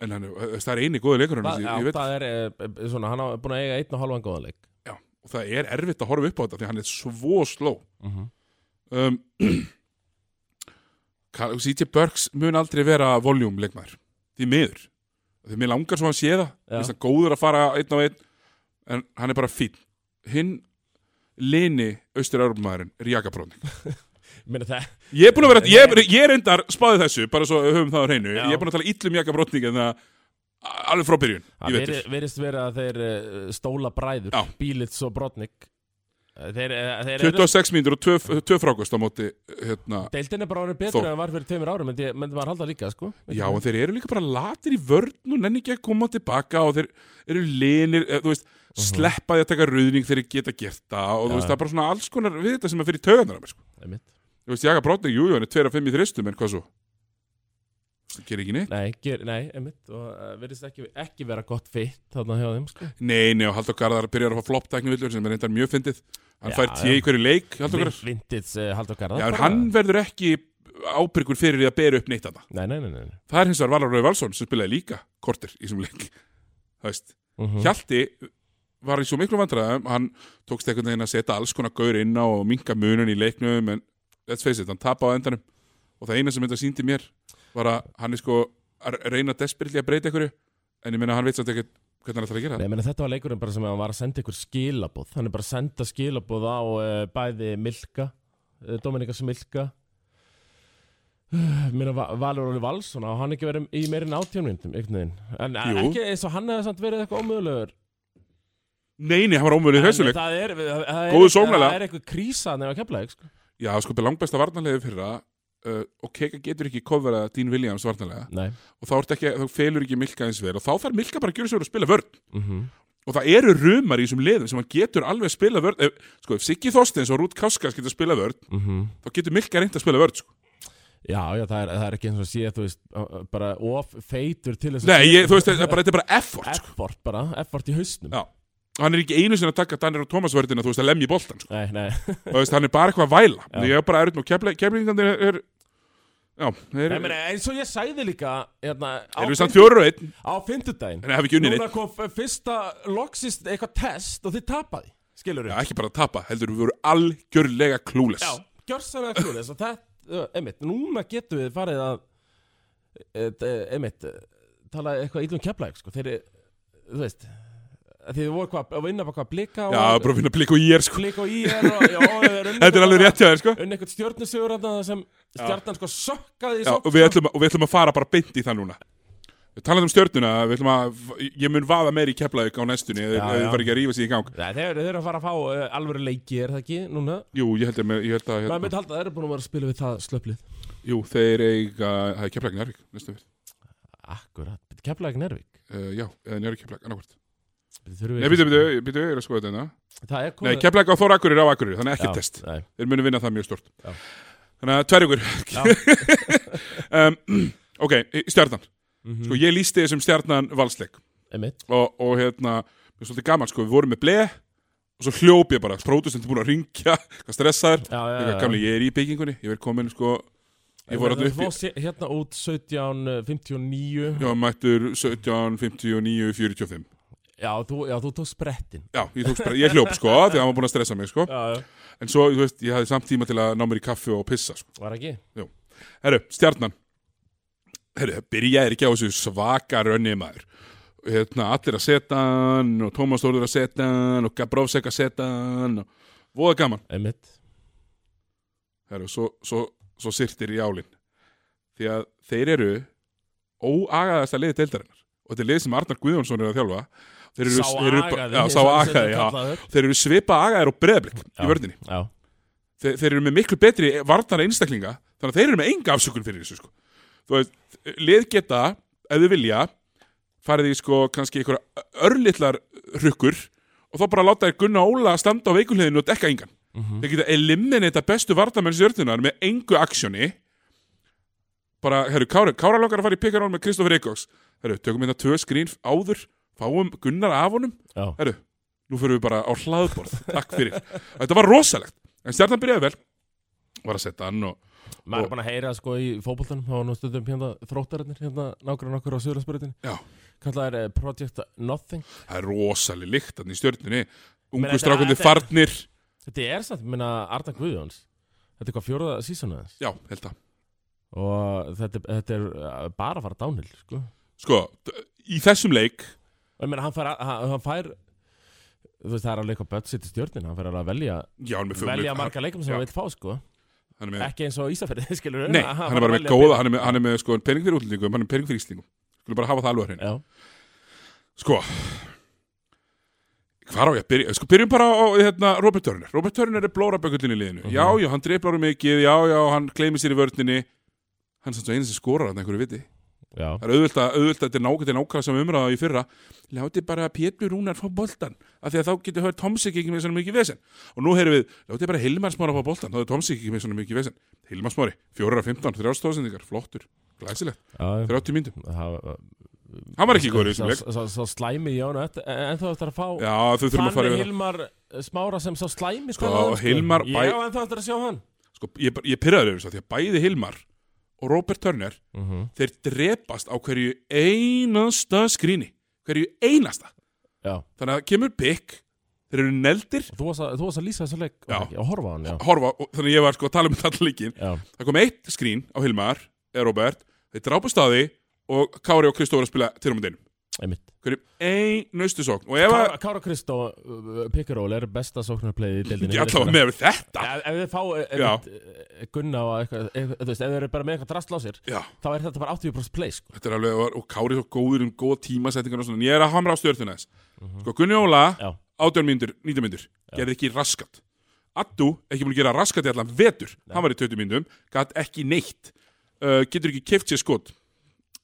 S1: en hann, er- þú veist, það er eini góði leikur hann,
S2: Það, já, það er eh, eh, svona, hann er búin að eiga einn og halvan góðan leik
S1: Já, og það er erfitt að horfa upp á þetta því að hann er svo sló
S2: mm -hmm.
S1: um, Ka- C.J. Burks mun aldrei vera voljúm leikmaður, því miður því mér langar svo að sé það
S2: Já.
S1: Mér finnst það góður að fara einn á einn en hann er bara fín hinn lini austur-európmaðurinn er jakabróðning
S2: Meina, það,
S1: ég er búin að vera, ég, er- ég er endar spáði þessu bara svo við höfum það á hreinu,
S2: Já.
S1: ég er búin að tala illum jakabróðning en það alveg frá byrjun,
S2: það
S1: ég veit
S2: veri- verðist verið að þeir eh, stóla bræður
S1: Já.
S2: Bílits og Brotnik Þeir, eh, þeir eru
S1: 26 mínútur og 2 frákost á móti hérna,
S2: Deildin er bara orðin betur
S1: Þór.
S2: en var fyrir tveimur árum myndi, myndi maður halda líka, sko
S1: Já, en þeir eru líka bara latir í vörn og nenni ekki að koma tilbaka og þeir eru linir, eða, þú veist, sleppa því að taka ruðning þegar þeir geta gert það og
S2: Mhm. Já.
S1: þú veist, það er bara svona alls konar við þetta sem er fyrir tauganar að mér, sko.
S2: Einmitt.
S1: Þú veist, Jaka Brotning, jú, jú, hann er 2 af 5 í þristum, en hvað svo? Þú veist, það gerir ekki neitt.
S2: Nei, ger, nei, einmitt og uh, verðist ekki, ekki vera gott fitt þarna hjá þeim, sko
S1: Nei, nei, og Halldór Garðar byrjar að fá flopptækni villur sem er reyndar mjög fyndið. Hann
S2: Já,
S1: fær 10 í hverju leik, Halldór Garðar.
S2: Vindits uh, Haldur Garðar
S1: Já, en
S2: bara-
S1: hann verður ekki ábyrgur fyrir því að bera upp neitt annað.
S2: Nei, nei, nei, nei.
S1: Það er hins vegar Valur Rauð Valsson sem spilaði líka kortir í þessum leik. Þú veist,
S2: Mm -hmm.
S1: Hjalti var í svo miklu vandræðum hann tókst einhvern veginn að setja alls konar gaur inn á og minka munun í leiknum en let's face it, hann tapa á endanum og það eina sem þetta síndi mér var að hann er sko að reyna desperately að breyta einhverju en ég meina hann veit samt ekkert hvernig hann ætlar að gera
S2: Nei,
S1: það
S2: meni, þetta var leikurinn bara sem hann var að senda ykkur skilaboð Hann er bara að senda skilaboð á uh, bæði Milka uh, Dominikas Milka uh, Mér að Valur Óli Valsson og hann ekki verið í meirinn átjónvindum En eh,
S1: Jú.
S2: ekki eins og hann hefði samt verið eitthvað ómögulegur
S1: Nei, nei, hann var ómölu í þessu
S2: En
S1: leik
S2: Það er, það er,
S1: Góður
S2: það
S1: sóknarlega.
S2: er eitthvað krísa nefn að kepla sko.
S1: Já, sko, langbæsta varnarlega fyrir það uh, og Keka getur ekki kofverða Dín Williams varnarlega
S2: Nei
S1: og þá, ertu ekki, þá felur ekki Milka eins verið og þá þarf Milka bara að gjöra sér að spila vörn
S2: mm -hmm.
S1: og það eru rumar í þessum liðum sem hann getur alveg spilað vörn ef, sko, ef Siggi Þorsteins og Rút Káskas getur spilað vörn þá getur Milka reynd að spila vörn sko.
S2: mhm. Já, já, það er, það er ekki eins og að sé Þú veist, eh, bara of feitur til þess að-
S1: Nei, ég, þú veist, þetta er bara, þetta er bara effort sko.
S2: Effort bara, effort í hausnum
S1: Já. og hann er ekki einu sinni að taka Danir og Thomas vörðina þú veist, að lemja í boltan sko.
S2: Nei, nei
S1: og, veist, hann er bara eitthvað að væla
S2: Já.
S1: Því ég er bara erut nú, keflingandi er, er já, þeir
S2: Nei,
S1: eru
S2: meni, eins og ég sæði líka hérna, á,
S1: er við samt fjóru og einn
S2: á fimmtudaginn
S1: en það hefur ekki unni
S2: Núna
S1: neitt
S2: kom f- fyrsta loksist eitthvað test og þið tapaði Skilur
S1: Já,
S2: við?
S1: ekki bara að tapa, heldur við voru algjörlega klúles
S2: Já, gjörsanlega klúðis og þetta, uh, einmitt, núna getum við farið að eh, einmitt, eh, tala eitthvað ítlum keflæk sko, þeir, þú veist að þið voru hvað, að vinna bara hvað blika og
S1: Já, bara að finna blik og ég er sko
S2: blika og í er og, já, og þeir unnu
S1: Þetta er alveg rétt hjá þér sko
S2: unni eitthvað stjórnusugur sem stjarnan sko sökkaði í
S1: Já,
S2: sókn,
S1: og við
S2: sko.
S1: ætlum, að- og við ætlum að fara bara beint í það núna Við talaðum um stjörnuna, við ætlum að ég mun vaða meir í Keflavík á næstunni ef ef
S2: Já,
S1: þið
S2: já.
S1: fara ekki að rífa sér í gang
S2: Nei, þeir, þeir eru að fara að fá uh, alvöru leiki, er það ekki, núna?
S1: Jú, ég held að, með- ég held að
S2: Maður
S1: hérna,
S2: myndi halda að þeir eru búin að vera að spila við það slöplið
S1: Jú, þeir eiga, það er Keflavík Njárvík næstu við,
S2: Akkurat, kemlaði ekki Nervík
S1: uh, já, eða Njárvík Keflavík annarkvært Nei,
S2: Nei,
S1: býtu, býtu, býtu, ég er að skoða þetta hérna.
S2: Það er
S1: Nei, Keflavík á Þór Akurir á Akurir, þannig ekki test
S2: nei.
S1: Þeir munu vinna það mjög stort
S2: Já.
S1: Þannig að tverju ykkur um, Ok, stjarnan
S2: Mhm.
S1: Sko, ég lísti þessum stjarnan valsleik
S2: Einmitt
S1: og, og hérna, mér er svolítið gaman sko, við vorum með bleð og svo hljóp ég bara, pródusent er búin að ringja hvað stressaður,
S2: Já, já,
S1: ég
S2: já.
S1: er gamli, ég er í byggingunni ég verið komin sko, ég voru alltaf upp í
S2: Þú fórst Hérna út eh, 17.59
S1: já, mættur 17, 59, 45
S2: Já, þú, já, þú tók sprettin
S1: já, ég, tók, spre- ég hljóp sko, því að hann var búin að stressa mig sko,
S2: Já, já
S1: en svo, þú veist, ég hafði samt tíma til að ná mér í kaffi og pissa sko.
S2: Var ekki?
S1: herru, stjarnan herru, það byrjaði ekki á þessu svaka rönni maður hérna, allir að setja hann og Tómas Þórður að setja hann og Gabrovsek að setja hann og voða gaman
S2: Einmitt
S1: Heru, svo, svo, svo sirtir í álinn því að þeir eru óagaðasta liði deildarinnar og þetta er lið sem Arnar Guðjónsson er að þjálfa þeir eru,
S2: Sá
S1: þeir eru, bara-
S2: agaði
S1: já,
S2: eins
S1: sá
S2: og þessi
S1: agaði,
S2: er
S1: já,
S2: kallaður.
S1: þeir eru svipa agaðir og breðablik
S2: Já.
S1: í vörðinni
S2: Já,
S1: þeir, þeir eru með miklu betri varnar einstaklinga þannig að þeir eru með enga afsökun fyrir þessu sko. þú veist, lið geta ef þau vilja, farið í sko kannski einhverja örlittlar hrukkur og þá bara láta þeir Gunna Óla standa á veikulhliðinu og dekka engan þeir geta eliminita bestu varnamenn sérðunar með engu aksjóni bara, herru, Kára, Kára langar að fara í pekaról með Kristoffer Eikóks herru, tökum þetta tvö skrín áður fáum Gunnar af honum
S2: já,
S1: herru, nú fyrir við bara á hlaðborð takk fyrir, þetta var rosalegt en stjarnan byrjaði vel var að setja hann og
S2: maður er búin að heyra sko í fótboltanum þá var nú stundum hérna þróttararnir hérna nákvæmlega nokkur á Suðurlandsbyrjunni
S1: já,
S2: kallaðir eh, Project Nothing
S1: það er rosaleg líkt þannig í stjörnunni,
S2: Meina,
S1: ungu
S2: þetta-
S1: strákundi
S2: þetta-
S1: farnir
S2: Þetta er samt, minna Arda Guðjóns Þetta er hvað fjóraða sísonu þess
S1: já, held að,
S2: og þetta, þetta er eh, bara að fara dánil sko.
S1: sko d- í þessum leik,
S2: og ég meina hann fær, hann, hann fær þú veist það er alveg eitthvað budget í stjórnin hann fær alveg að velja,
S1: já, hann er með
S2: velja
S1: hann,
S2: marga leikum sem
S1: já.
S2: hann vil fá sko.
S1: hann er með,
S2: ekki eins og Ísafjörði skilur
S1: nei, hann er bara með góða hann er með, hann er með sko, pening fyrir útlendingum, hann er með pening fyrir íslendingum skulum bara hafa það alveg hrein,
S2: já,
S1: sko Hvar á ég að byrja? Sko, byrjum bara á hérna, Robert Turner. Robert Turner er blórabökullin í liðinu.
S2: Mhm.
S1: Já, já, hann dreiplar um mikið, já, já, hann gleymir sér í vörninni. Hann er samt svo einu sem skorar hann einhverju viti.
S2: já,
S1: Það er auðvöld að, auðvöld að þetta er nákvæmt nákvæmt sem umræða í fyrra. Láti bara Pétur Rúnar fá boltan, af því að þá getur höfð Tomsik ekki með svona mikið vesen. Og nú heyrum við, láti bara Hilmar Smára fá boltan, þá er Tomsik ekki með svona mikið vesen. Hilmar Smári, 4.15, 3.000, flottur, glæsilegt,
S2: já
S1: 30 myndum.
S2: það Sko,
S1: Hann var ekki góður í þessum leik.
S2: svo, svo, svo slæmi í Jónu en, en þú ættir að fá
S1: Já, þau þurfum að fara
S2: Fanni
S1: yfir það.
S2: Hilmar eh, Smára sem svo slæmi
S1: Sko,
S2: skoðaði,
S1: Hilmar
S2: já,
S1: bæ-
S2: en þú ættir að sjá hann
S1: sko, ég, bara- ég pyrraður yfir þess að því að bæði Hilmar og Robert Turner þeir drepast á hverju einasta skríni hverju einasta
S2: já,
S1: þannig að kemur pikk, þeir eru neldir
S2: og þú varst að, þú varst að lýsa þessu leik
S1: Já.
S2: var ekki? og horfa á hann já,
S1: horfa, og, þannig að ég var sko að tala um þetta allan leikinn
S2: já,
S1: það kom eitt skrín á Hilmar eða Robert, þeir drápa staði og Kári og Kristófur að spila til á myndinum
S2: einmitt
S1: hverju einustu sókn og ef að,
S2: Kára, Kára Kristó uh, Pickerol er besta sóknarpleiði í deildinni
S1: ég ætla að með þetta
S2: Ef, ef þið fá
S1: Já.
S2: uh, gunna og eitthvað, ef, þú veist, ef þið eru bara með eitthvað drastl á sér,
S1: já,
S2: þá er þetta bara 80% play, sko.
S1: þetta er alveg, og Kári er svo góður um góða tímasettingar og svona, en ég er að hamra á stjörnuna þess sko Gunni Óla
S2: Já,
S1: átján mínútur, nýtján mínútur gerði ekki raskat Addu, ekki múin að gera raskat í allan vetur hann var í 20 mínútum, gæt ekki neitt uh, getur ekki keft sér skot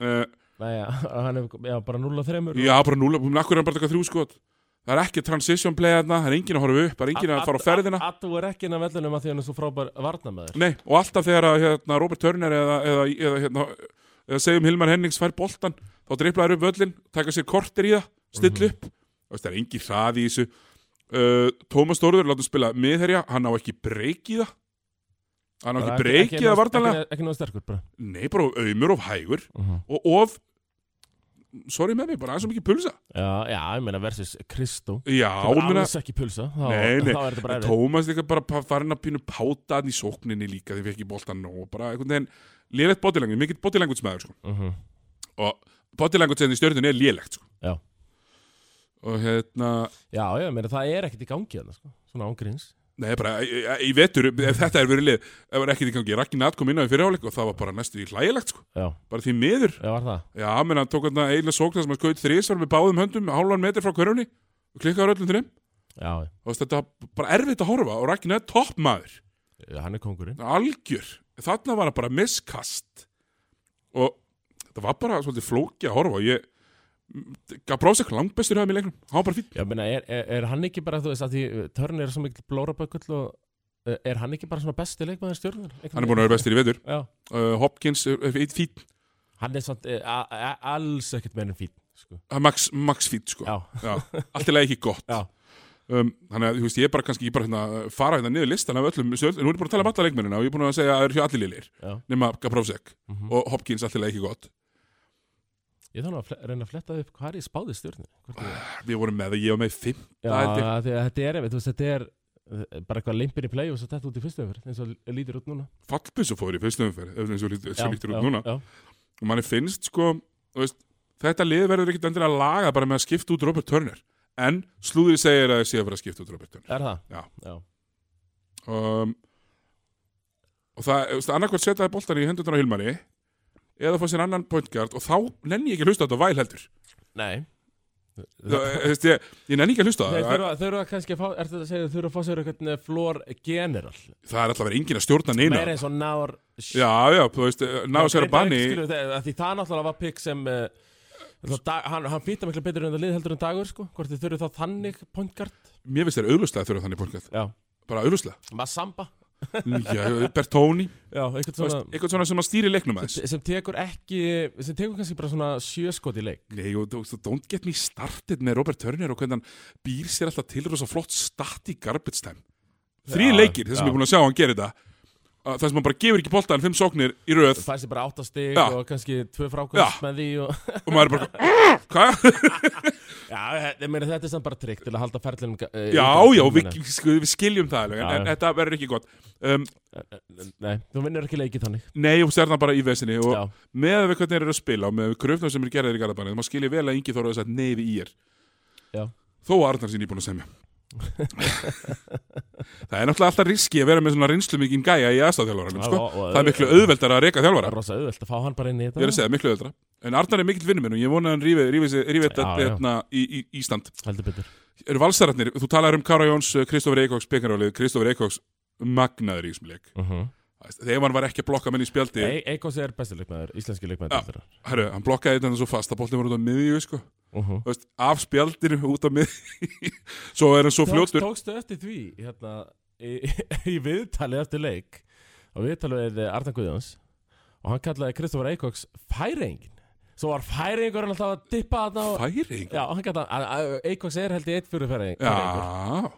S1: uh,
S2: næja, hann er já, bara 0 og 3
S1: já, bara núla, hún akkur er hann bara að taka þrjú skot það er ekki transition play þarna, það er engin að horfa upp það er engin að fara á ferðina
S2: Attu er ekki inn á vellunum að því hann er svo frábær varnamæður.
S1: Nei, og alltaf þegar að, hérna, Robert Turner eða, eða, eða, hérna, eða segjum Hilmar Hennings fær boltan, þá dreiflaður upp völlin taka sér korter í það, stillu upp Þú veist, það er engin hraði í þessu uh, Tómas Þórður, látum spila miðherja hann á ekki breyk í það hann á ekki breyk í það vartanlega
S2: Ekki náðu sterkur, bara.
S1: Nei, bara auðmur of hægur
S2: Mhm.
S1: og of sorry með mig, bara aðeins og mikið pulsa
S2: Já, já, ég meina versus Kristó.
S1: Já,
S2: Sem er
S1: meina,
S2: Alls ekki pulsa, þá,
S1: Nei, nei,
S2: þá er þetta bara erfitt.
S1: Tómas líka bara pa- farin að pínu páta hann í sókninni líka þegar við ekki boltan og bara einhvern veginn lélegt bótilengur, mikill bótilengursmaður sko.
S2: Mhm.
S1: og bótilengur sem í stjörnun er lélegt sko.
S2: Já.
S1: og hérna
S2: Já, já, ég meina það er ekkert í gangi þarna, sko. Svona ángríns.
S1: Nei, bara, í í- í vetur, ef þetta er verið lið ef var ekkert í gangi, Ragnar kom inn á í fyrirháleik og það var bara næstu í hlægilegt, sko,
S2: Já,
S1: bara því miður
S2: já, var það.
S1: Já, menn, hann tók hann eiginlega sóknar sem hann skaut þrísvar með báðum höndum, hálfan metri frá hverjunni og klikkaður öllum þrjum
S2: Já, já.
S1: og þetta var bara erfitt að horfa og Ragnar er toppmaður
S2: Já, hann er kongurinn
S1: algjör þarna var hann bara miskast og þetta var bara svolítið flóki að horfa og ég Gabrósek langbestur höfum í leiknum hann var bara fín
S2: Já, menna, er, er, er hann ekki bara, þú veist, að því uh, Törn er svo mikil blórabökull og uh, er hann ekki bara svona besti leikmaður stjórnur?
S1: hann er búin að vera bestur í vetur
S2: Já,
S1: uh, Hopkins er er fínn, fínn
S2: hann er samt uh, a- a- alls ekkert meira en fín sko.
S1: uh, Max, Max fínn sko
S2: Já,
S1: Já, allt í lagi ekki gott
S2: Já.
S1: um, þannig að þú veist ég er bara kannski ég bara hérna, fara hérna niður listan af öllum stöð, en hún er búin að tala um alla leikmennina og ég er búin að segja að það eru hjá allir liðir
S2: Já.
S1: nema Gabrósek
S2: Mhm.
S1: og Hopkins allt í lagi ekki gott
S2: ég þarf nú að fle- reyna að fletta upp hvað er ég spáði stjórnur Já,
S1: við vorum með það, ég var með fimm Það er-
S2: af því að þetta er, veit, þú veist, þetta er uh, bara eitthvað limpin í play og svo þetta út í fyrstu öfur eins og lítur út núna
S1: fallbissu fóður í fyrstu umferð ef þessu lít-
S2: Já,
S1: þessu lítur
S2: já,
S1: út núna
S2: Já,
S1: og manni finnst sko þú veist, þetta lið verður ekkit endur að laga bara með að skipta út Robert Turner en slúðri segir að það sé að vera að skipta út Robert Turner
S2: er það?
S1: Já.
S2: Já,
S1: um, og það þú veist, annarkvært setjaði boltan í hendunar á Hilmari eða fá sér annan pointgard og þá nenni ég ekki að hlusta á þetta væl heldur
S2: nei
S1: Þú veist, ég, ég nenni ekki að hlusta á
S2: Þeir
S1: það.
S2: þurfa, þurfa kannski að fá, er þetta að segja, þurfa að fá sér eitthvað flór general
S1: Það er alltaf að vera engin að stjórna neina.
S2: Meira eins og náður
S1: Já, já, þú veist, eh, ná sér að banni.
S2: skilur, það, Því það náttúrulega var pikk sem uh, dag, hann, hann fýta miklu betur en það lið heldur en dagur sko Hvort þið þurfa þá þannig point guard
S1: Mér finnst þér auðlustlega þurfa þannig fólkið.
S2: Já,
S1: Bara auðlustlega.
S2: Massamba
S1: Já, Bertóni.
S2: Já, eitthvað
S1: Svona...
S2: svona
S1: Eitthvað svona sem að stýri leiknum aðeins.
S2: eh, sem tekur ekki, sem tekur kannski bara svona sjöskot í leik
S1: Nei, og þú veist, don't get me started með Robert Turner og hvernig hann býr sér alltaf til rosa flott start í garbage time. Þrý
S2: Já,
S1: leikir, þess sem ég
S2: já.
S1: er búin að sjá hann gera þetta. Að Það sem hann bara gefur ekki boltan fimm sóknir í röð
S2: fær sér bara áttastig
S1: Já.
S2: og kannski tvö frákvæmst með því og...
S1: og maður er bara, hvað?
S2: Já, ég meina þetta er samt bara trygg til að halda ferlinum uh,
S1: Já, já, við, við skiljum það alveg, en,
S2: Já, já.
S1: en þetta verður ekki gott. Um,
S2: Nei, þú vinnur ekki leikið þannig
S1: Nei, og stjarnan bara í vesinni og
S2: Já,
S1: með við hvernig þeir eru að spila og með við kröfnum sem eru gerðir í Garðabæni þá skilja vel að Ingi Þóra þess að neyfi í er
S2: Já.
S1: Þó að Arnar sín íbúin að semja Það er náttúrulega alltaf riski að vera með svona reynslu mikið gæja í aðstafþjálfaranum sko?
S2: og- og-
S1: Það er miklu auðveldara að reyka
S2: Það er
S1: þjálfara
S2: rosa auðvelt að fá hann bara inn í
S1: Ég er að
S2: þetta
S1: segja, miklu auðveldara En Arnar er mikill vinnuminn og ég vona að hann rífi, rífi, sig- rífi þetta
S2: Já, já.
S1: hérna í, í Ísland
S2: Heldur betur
S1: Eru valsararnir, þú talar um Kara Jóns, Kristofur Eikóks, Pekarálið, Kristofur Eikóks magnaður í þessum leik Þegar hann var ekki að blokka menn í spjaldi
S2: Mhm. E- Eikos er besti leikmaður, íslenski leikmaður
S1: Já.
S2: deildarinnar.
S1: Herru, hann blokkaði þetta svo fast að boltin var út á miðju, sko
S2: Mhm.
S1: Þú veist, af spjaldinu út á miðju Svo er hann svo
S2: Tókst-
S1: fljótur
S2: Tókstu eftir því hérna, í, í viðtalið eftir leik og viðtalið við Arna Guðjóns og hann kallaði Kristofur Eikoks færingin Svo var færingurinn alltaf að dippa þarna og
S1: Færing
S2: Já, hann kallaði Eikoks er held í eitt fyrir færing
S1: Já,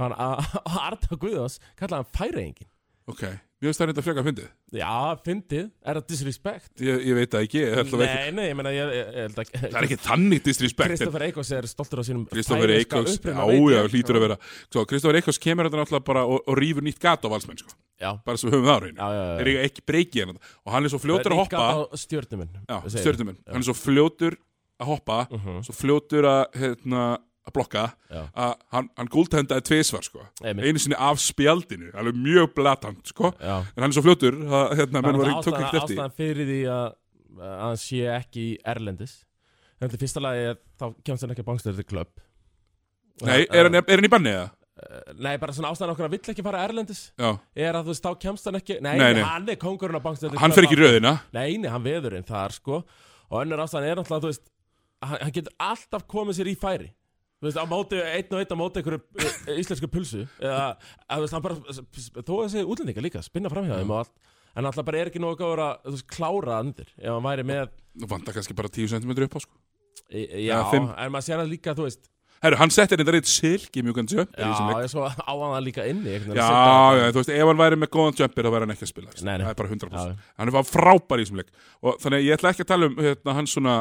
S2: Hann, a- og Arna Guðjóns kallaði hann færingin
S1: ok Mér finnst það reynda frekar fyndið
S2: Já, fyndið, er það disrespect?
S1: ég, ég veit það ekki, ég held að ekki
S2: Nei, nei, ég meina ég, ég, ég held að
S1: Það er ekki þannig disrespect en
S2: Kristoffer Eikos er stoltur á sínum
S1: Kristoffer
S2: færeyska
S1: Eikos,
S2: uppruna,
S1: já,
S2: um veit
S1: já,
S2: ég. sko.
S1: hlýtur að vera Svo, Kristoffer Eikos kemur þetta náttúrulega bara og, og rýfur nýtt gat á valsmenn, sko
S2: Já,
S1: Bara sem við höfum það á reynu
S2: já, já,
S1: Er
S2: já.
S1: ég ekki breykið hann Og hann er svo fljótur að
S2: Ríkka
S1: hoppa
S2: á stjörnuminn
S1: Já,
S2: segir.
S1: stjörnuminn Hann er svo fljótur að hoppa
S2: Mhm.
S1: Svo fljótur að, hérna, að blokka
S2: Já.
S1: að hann, hann gúltendaði tvisvar sko.
S2: Einmitt.
S1: einu sinni af spjaldinu alveg mjög blatant sko.
S2: Já.
S1: en hann er svo fljótur að hérna, menn var ekki tók
S2: ástæðan,
S1: ekkert eftir því.
S2: ástæðan fyrir því að að hann sé ekki í Erlendis Þetta er fyrsta lagi að þá kemst hann ekki að bangstöður til klubb
S1: Nei, er hann, er hann í banni eða?
S2: Nei, bara svona ástæðan okkur að vill ekki fara Erlendis
S1: Já.
S2: Er að þú veist, þá kemst hann ekki Nei,
S1: Nei, nei.
S2: hann er kongurinn á bangstöður
S1: Hann fer ekki í röðina
S2: Nei, nei, hann veður einn þar sko Og önnur ástæðan er náttúrulega, þú veist Hann, hann getur alltaf komið sér í færi Þú veist, á móti, einn og einn á móti einhverju eh, íslensku pulsu Eða, að, þú veist, hann bara Þó að þessi útlendinga líka, spinna framhjá þeim og allt En alltaf bara er ekki nógu góður að, þú veist, klára andir Ef hann væri með,
S1: Nú vantar kannski bara 10 cm upp á sko.
S2: e, já,
S1: Eða fimm.
S2: en maður sér það líka, þú veist
S1: Herru, hann settir þetta reitt silki mjúkan jumper
S2: Já,
S1: í þessum leik.
S2: ég svo á hann það líka inni einhvern veginn
S1: Já,
S2: að setja
S1: já,
S2: þetta.
S1: þú veist, ef hann væri með góðan jumper þá væri hann ekki að spila veist.
S2: Nei, nei.
S1: Það er bara 100%
S2: Já, já.
S1: Hann var frábær í þessum leik og þannig að ég ætla ekki að tala um hérna, hann svona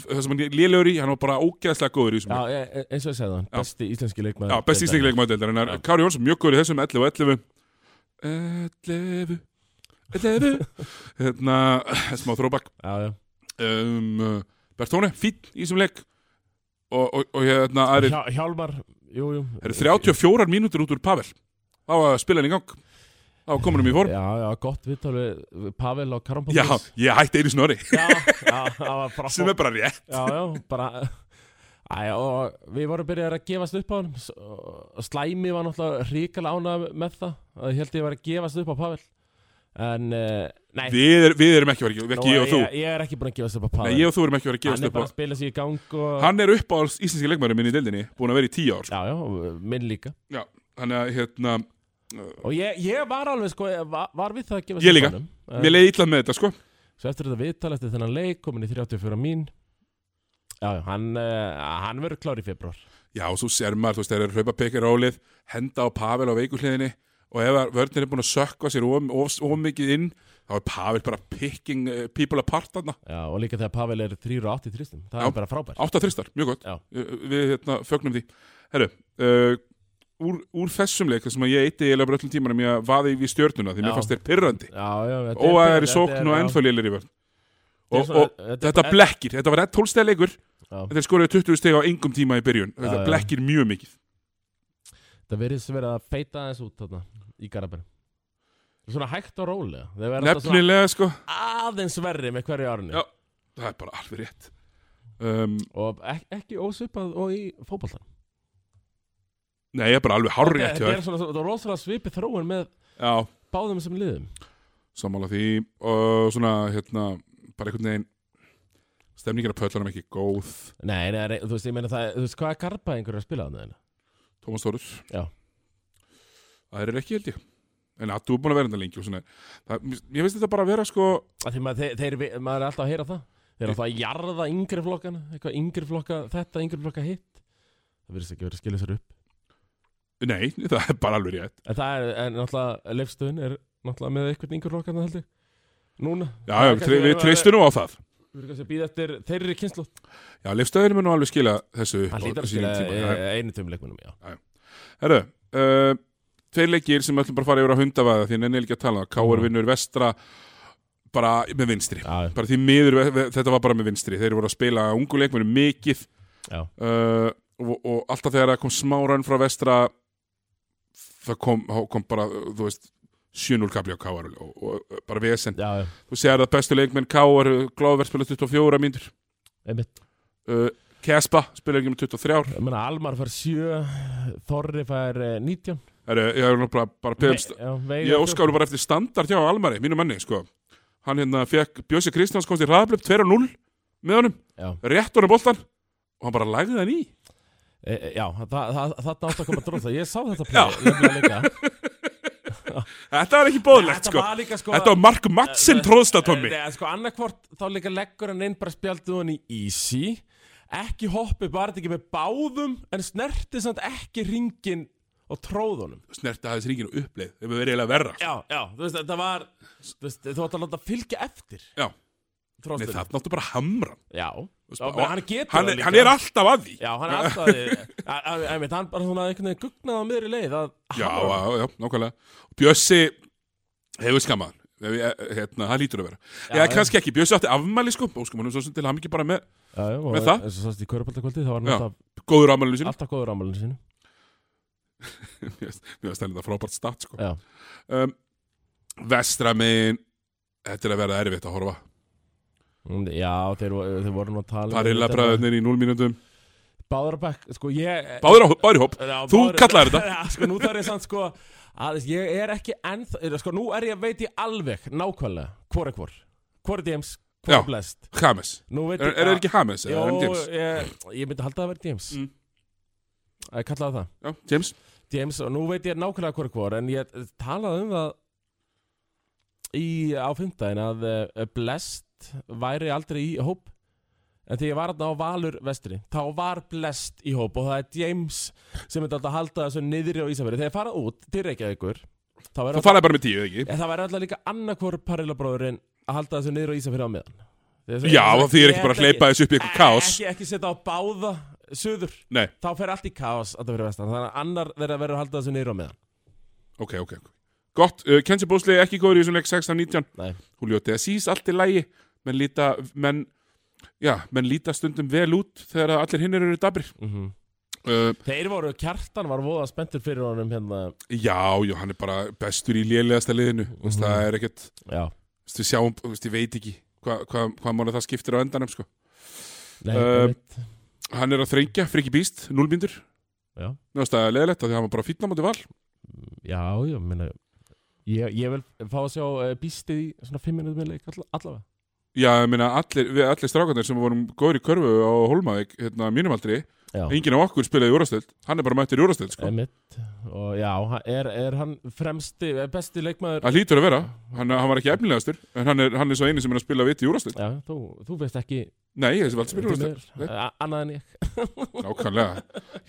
S1: það sem hann er lélegur í, hann var bara ógeðslega góður í þessum leik.
S2: Já, e- e- eins og ég segði hann, besti íslenski leikmaður
S1: Já, besti íslenski leikmaður deildarinnar Kári Jónsson mjög góður í þessum 11 og 11 11 11 Hérna, smá þróbak
S2: Já, já,
S1: um, Bertóni, fín í þessum leik Og, og, og hérna, aðri
S2: Hjá- Hjálmar, jú, jú
S1: Það eru 34 mínútur út úr Pavel Það var spilan í gang Það var kominum í form
S2: Já, já, gott viðtal við við Pavel og Karampolis
S1: Já, ég hætti einu snori
S2: já, já, það var bara
S1: Sem er bara rétt
S2: Já, já, bara Æja, og við vorum byrjaðið að gefast upp á hann og Slæmi var náttúrulega ríkala ánað með það að ég held ég var að gefast upp á Pavel En, uh, nei
S1: Við, er, við erum ekki verið ekki, ekki ég og þú
S2: ég, ég er ekki búin að gefast upp á Pavel
S1: Nei, ég og þú erum ekki verið að
S2: Hann
S1: gefast
S2: er
S1: upp
S2: bara
S1: á
S2: að spila sig í gang og
S1: Hann er upp á íslenski leikmæri minni í deildinni Búin að vera í 10 ár sko.
S2: Já, já, og minn líka
S1: Já, hann er hérna
S2: Og ég, ég var alveg, sko, ég var, var við það að gefast
S1: Ég
S2: upp
S1: líka.
S2: á hann
S1: Mér leiði illa með þetta sko
S2: Svo eftir þetta viðtal eftir þennan leik komin í 34 mín Já, já, hann, uh, hann verður klár í februar
S1: Já, og svo sér maður, þú veist, þeir eru hlaupa pekir rólið, henda á Pavel á veikuhliðinni og ef að vörnir er búin að sökka sér of, of, of mikið inn, þá er Pavel bara picking eh, people apart þarna.
S2: Já, og líka þegar Pavel er 3 og 8 í tristum Það
S1: Já.
S2: er bara frábær
S1: Átta þristar, mjög gott.
S2: Já.
S1: Eh, Við hérna, fögnum því. Herru, uh, úr, úr þessum leik, þar sem að ég eitti eiginlega bara öllum tímanum ég að vaði við stjörnuna, því mér
S2: Já.
S1: fannst þeir pyrrandi.
S2: Já, já, þetta
S1: Og að það er
S2: þetta
S1: í sókn og
S2: já,
S1: ennþá lélir í vörn.
S2: þetta er
S1: Og,
S2: svona-
S1: og þetta blekkir, þetta var 12 steg leikur,
S2: já,
S1: þetta er skorið 20 steg á engum tíma í byrjun.
S2: Já,
S1: Þetta
S2: já.
S1: blekkir mjög mikið.
S2: Þetta verðist verið að feita aðeins út þarna í Garabæn Svona hægt og rólega Þeir verða alltaf
S1: Nefnilega, sko.
S2: svona aðeins verri með hverju árni
S1: Já. Það er bara alveg rétt. um,
S2: og ek, ekki ósvipað og í fótboltan
S1: Nei, ég er bara alveg hárri
S2: Þetta er svona, þetta er rosalega svipið þróun með
S1: Já,
S2: báðum sem liðum
S1: sammála því og svona, hérna, bara einhvern veginn stemningin að pöllanum ekki góð
S2: Nei, nei, nei, þú veist, ég meina það, þú veist, hvað er garba einhverju að spila þannig?
S1: Tómas Þórus
S2: Já.
S1: Það er ekki held ég En að þú er búin að vera þetta lengi og svona það, Ég veist þetta bara að vera sko
S2: Af Því maður, þeir, þeir, vi- maður er alltaf að heyra það Þeir eru alltaf að jarða yngri flokkana Eitthvað yngri flokka þetta, yngri flokka hitt Það verðist ekki verið að skilja sér upp
S1: Nei, það er bara alveg rétt
S2: En það er, en náttúrulega Leifstöðin er náttúrulega með eitthvað yngri flokkana held ég Núna
S1: Já, já við, við treystum nú á það
S2: Við erum kannski að býða eftir þeirri kynslu
S1: Já, lifstæðurinn mun nú alveg skila þessu
S2: Hann
S1: á
S2: lítar að
S1: sínum
S2: skilja
S1: tíma.
S2: e, einu tömleikmunum, já
S1: Herru, uh, tveir leikir sem við ætlum bara að fara yfir á hundavaða því nenni ekki að tala. K.R.
S2: Mhm.
S1: vinnur vestra bara með vinstri.
S2: Já,
S1: Bara því miður, ve- ve- þetta var bara með vinstri. Þeir voru að spila ungu leikmennu mikið
S2: já,
S1: uh, og, og alltaf þegar það kom smá rann frá vestra það kom, kom bara, þú veist, 7-0 kapli á K.R. og, og, og bara vesen.
S2: já, já,
S1: Þú sér að bestu leikmenn K.R. Gláver spila 24 mínútur.
S2: einmitt
S1: Uh, Kespa spila ekki um með 23
S2: Ég meina, Almar fær 7 Þorri fær eh, 19
S1: Herru, ég er nú bara, bara um
S2: Ve-
S1: pefst
S2: já, Veigar
S1: Ég
S2: 14.
S1: óskálu bara eftir standard hjá Almari, mínu manni, sko. Hann hérna fekk Bjössi Kristjáns komst í hraðablöf 2-0 með honum,
S2: Já,
S1: rétt honum boltan og hann bara lagði hann í.
S2: e, e, já það, það, það átt að koma dróð það Ég sá þetta play, ég bleið líka
S1: Þetta var ekki bóðlegt,
S2: Þetta
S1: sko.
S2: var líka sko
S1: Þetta var Mark Madsen tróðsta, Tommy.
S2: Nei, sko, annarkvort þá líka leggur hann inn bara spjaldið hann í easy Ekki hoppi, bara þetta ekki með báðum En snerti samt ekki ringin og tróð honum
S1: Snerti aðeins ringinu uppleið, þeir verið eiginlega verra.
S2: Já, já, þú veist, þetta var Þú veist, þú átt að láta fylgja eftir
S1: Já, nei,
S2: Tróðstöðum
S1: það náttu bara hamra.
S2: Já,
S1: veist,
S2: já
S1: og-
S2: menn, hann getur
S1: Hann,
S2: það
S1: er-
S2: líka
S1: hann er alltaf að því.
S2: Já, hann er alltaf því- að- að- að- einmitt, Hann bara svona einhvern veginn gugnaði á miðri leið að
S1: Já,
S2: hamra honum.
S1: já, já, nákvæmlega. Bjössi hefur skammaðan. Hérna, það lítur að vera. Já,
S2: já.
S1: kannski ekki. Bjössi átti afmæli, sko. Óskum, hann er svo sem til hann bara með
S2: Já, já, og
S1: Með það?
S2: eins og sást í Körbaldakvöldið, þá var hann
S1: Já.
S2: alltaf,
S1: góður afmælinu sinu.
S2: alltaf góður ámælinu sinu
S1: Mér finnst- mér finnst það frábært start sko.
S2: Já,
S1: um, Vestra minn Þetta er að verða erfitt að horfa
S2: Mm, já þeir, vo- þeir voru nú að tala um
S1: Parilla bræðurnir í 0 mínúndum
S2: Báðurabæk, sko ég
S1: Báður, á- báður í hóp
S2: Já,
S1: Þú
S2: Báður-
S1: kallaðir þetta.
S2: Já, sko nú þarf ég samt sko aðeins, ég er ekki ennþá eh, sko nú er ég, veit ég alveg nákvæmlega hvor er hvor, hvor er James, hvor
S1: Já.
S2: er Blest
S1: James
S2: Nú veit
S1: Er, er það ekki James?
S2: Jó,
S1: eða er hann James?
S2: ég, ég myndi halda að vera James
S1: Mm.
S2: Ég kallaði það
S1: Já, James
S2: James, og nú veit ég nákvæmlega hvor er hvor en ég talaði um það í á fimmtæðin að eh, Blest væri aldrei í hóp en þegar ég var þarna á Valur vestri þá var Blest í hóp og það er James sem myndi alltaf að halda þessu niðri á Ísafjörði þegar ég farað út til Reykjavíkur þá
S1: Þú
S2: verður
S1: talaði bara með tíu, eða ekki?
S2: En það væri alltaf líka annarkvor parilabróðurinn að halda þessu niður á Ísafjörði á meðan Þessu-
S1: Já,
S2: þessu-
S1: því er ekki bara að
S2: Ég-
S1: hleypa þessu upp í eitthvað kaos
S2: Ekki, ekki setja á báða suður
S1: Nei,
S2: Þá fer allt í kaos að það fyrir vestan Þannig að annar verður að verður að halda þessu niður á meðan
S1: ok, ok ok. Gott, uh, Kenji Bósli ekki góður í þessum leik 16-19
S2: Nei,
S1: Julio De Assis, allt í lægi Menn líta, menn Já, menn líta stundum vel út þegar að allir hinnir eru dabrir
S2: mm
S1: uh,
S2: Þeir voru, kjartan var voða spenntur fyrir honum hérna
S1: Já, já, hann er bara bestur í lélegasta liðinu mm -hmm.
S2: Mhm.
S1: Það er ekkert
S2: Já,
S1: Þú veist, við sjáum, þú veist, ég veit ekki hvað hva, hva mánu það skiptir á endanum, sko.
S2: nei,
S1: Eh,
S2: um,
S1: Hann er að þrengja, friki bíst, núlbindur.
S2: Já.
S1: Náðast að leðilegt að því að hann var bara fýtna mútið val.
S2: já, já, minna Ég, ég vil fá að sjá uh, býstið í svona fimm minútur með leik all, allavega
S1: Já, ég meina, allir, við allir strákarnir sem vorum góður í körfu á Holmavík, hérna, mínum aldri,
S2: Já,
S1: enginn af okkur spilaði í úrastöld, hann er bara mættur í úrastöld, sko.
S2: emitt Og já, hann- er, er hann fremsti, er besti leikmaður
S1: Það hlýtur að vera, hann, hann var ekki efnilegastur, en hann er, hann er svo eini sem er að spila viti í úrastöld.
S2: Já, þú, þú veist ekki
S1: Nei, þessi vald spila í
S2: því
S1: úrastöld,
S2: miður, a- annað en ég
S1: nákvæmlega.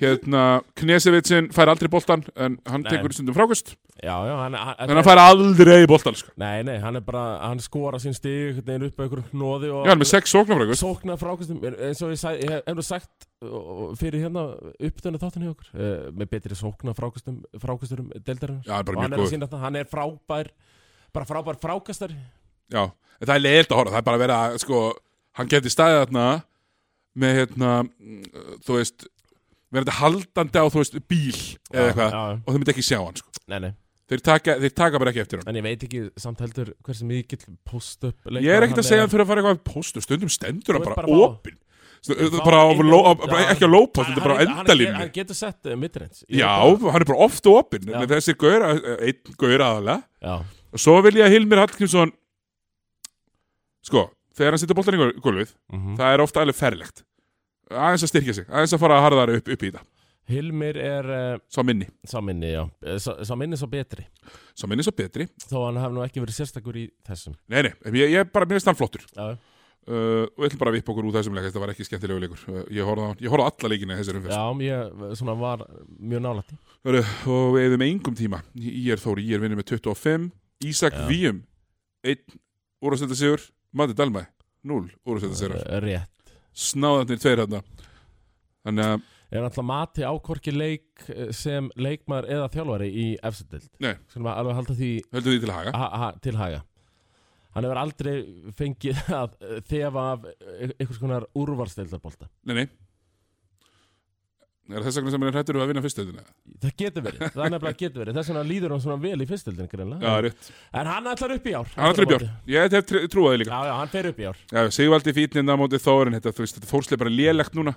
S1: Hérna, Knesevitsin fær aldrei boltan, en hann
S2: Nei.
S1: tekur stundum frákust,
S2: Já, já, hann, hann,
S1: en hann fær aldrei boltan, sko.
S2: Nei, nei, hann er bara, hann skora sín stig einhvern veginn upp á einhverjum hnóði og
S1: Já, hann er með sex sóknarfrákust.
S2: sóknar frákastum eins og ég, sag, ég hef nú sagt uh, fyrir hérna uppdöðinu þáttunni okkur uh, með betri sóknar frákastum frákasturum deildarinnar
S1: Já, hann er
S2: og
S1: bara mjög
S2: hann er að
S1: góður.
S2: sína þetta, hann er frábær bara frábær frákastari
S1: Já, en það er leiðilt að horfa, það er bara að vera að, sko, hann geti staðið þarna með hérna, mm, þú veist verðandi haldandi á, þú veist, bíl eða eitthvað,
S2: já,
S1: og þau myndi ekki sjá hann, sko
S2: nei, nei.
S1: þeir taka, þeir taka bara ekki eftir hann
S2: en ég veit ekki samt heldur hversu mikill post-up
S1: Ég er ekkert að segja að hann þurfa að fara eitthvað að postu, stundum stendur hann
S2: Þú ert
S1: bara
S2: bara að fá-
S1: opinn Það er bara á
S2: Engan-
S1: ló, bara ekki að lópa,
S2: Hann-
S1: þetta er bara á
S2: hann- hann-
S1: endalínu.
S2: Hann getur sett eh, midrins
S1: Já, hann er bara oft og opinn
S2: Já.
S1: en þessi gaur, eh, einn gaur aðalega
S2: Já,
S1: og svo vil ég að Hilmir Hallgrímsson sko, þegar hann setur boltan í gól- gólfið
S2: mhm.
S1: það er ofta alveg ferlegt aðeins að styrkja sig, aðeins að fara að harðara upp, upp í þetta
S2: Hilmir er uh,
S1: sá minni,
S2: sá minni, já Eh, sá, sá minni sá betri
S1: sá minni svo betri
S2: Þó hann hafði nú ekki verið sérstakur í þessum
S1: nei, nei, en ég, ég bara, mér finnst hann flottur
S2: Já,
S1: uh, og við ætlum bara að vipa okkur úr þessum leik þetta var ekki skemmtilegu leikur, uh, ég horfði á, hann- ég horfði á alla leikina í þessari umferð,
S2: já ég svona var mjög nálætti
S1: Hörru, og við eðum engum tíma, ég er Þóri, ég er vinnur með 25, Ísak
S2: Já.
S1: Víum 1 úrastölda sigur Matti Dalmæ, 0 úrastölda sigur
S2: Eh, Rétt
S1: snáðarnir tveir hérna þannig að
S2: Er náttúrulega mati á hvorki leik eh, sem leikmaður eða þjálfari í efstadild
S1: Nei. Ah.
S2: Skulum að alveg halda því
S1: höldum því til að haga
S2: ha, ha, til haga Hann hefur aldrei fengið að eh, þefa af eh, einhvers konar úrvalsdeildarbolta
S1: Nei, nei Er þess vegna sem hann er hrættur um að vinna fyrstöðina?
S2: Það getur verið, það er nefnilega getur verið Þess vegna líður hann svona vel í fyrstildin
S1: Já,
S2: greinlega
S1: rétt
S2: En Mm. hann ætlar upp í ár
S1: Hann ætlar upp í ár Ég hef tr- trúað því líka
S2: Já, já, hann fer upp í ár
S1: Já, Sigvaldi fítninn á móti Þórin Þetta, þú veist, þetta fórsleif bara lélegt núna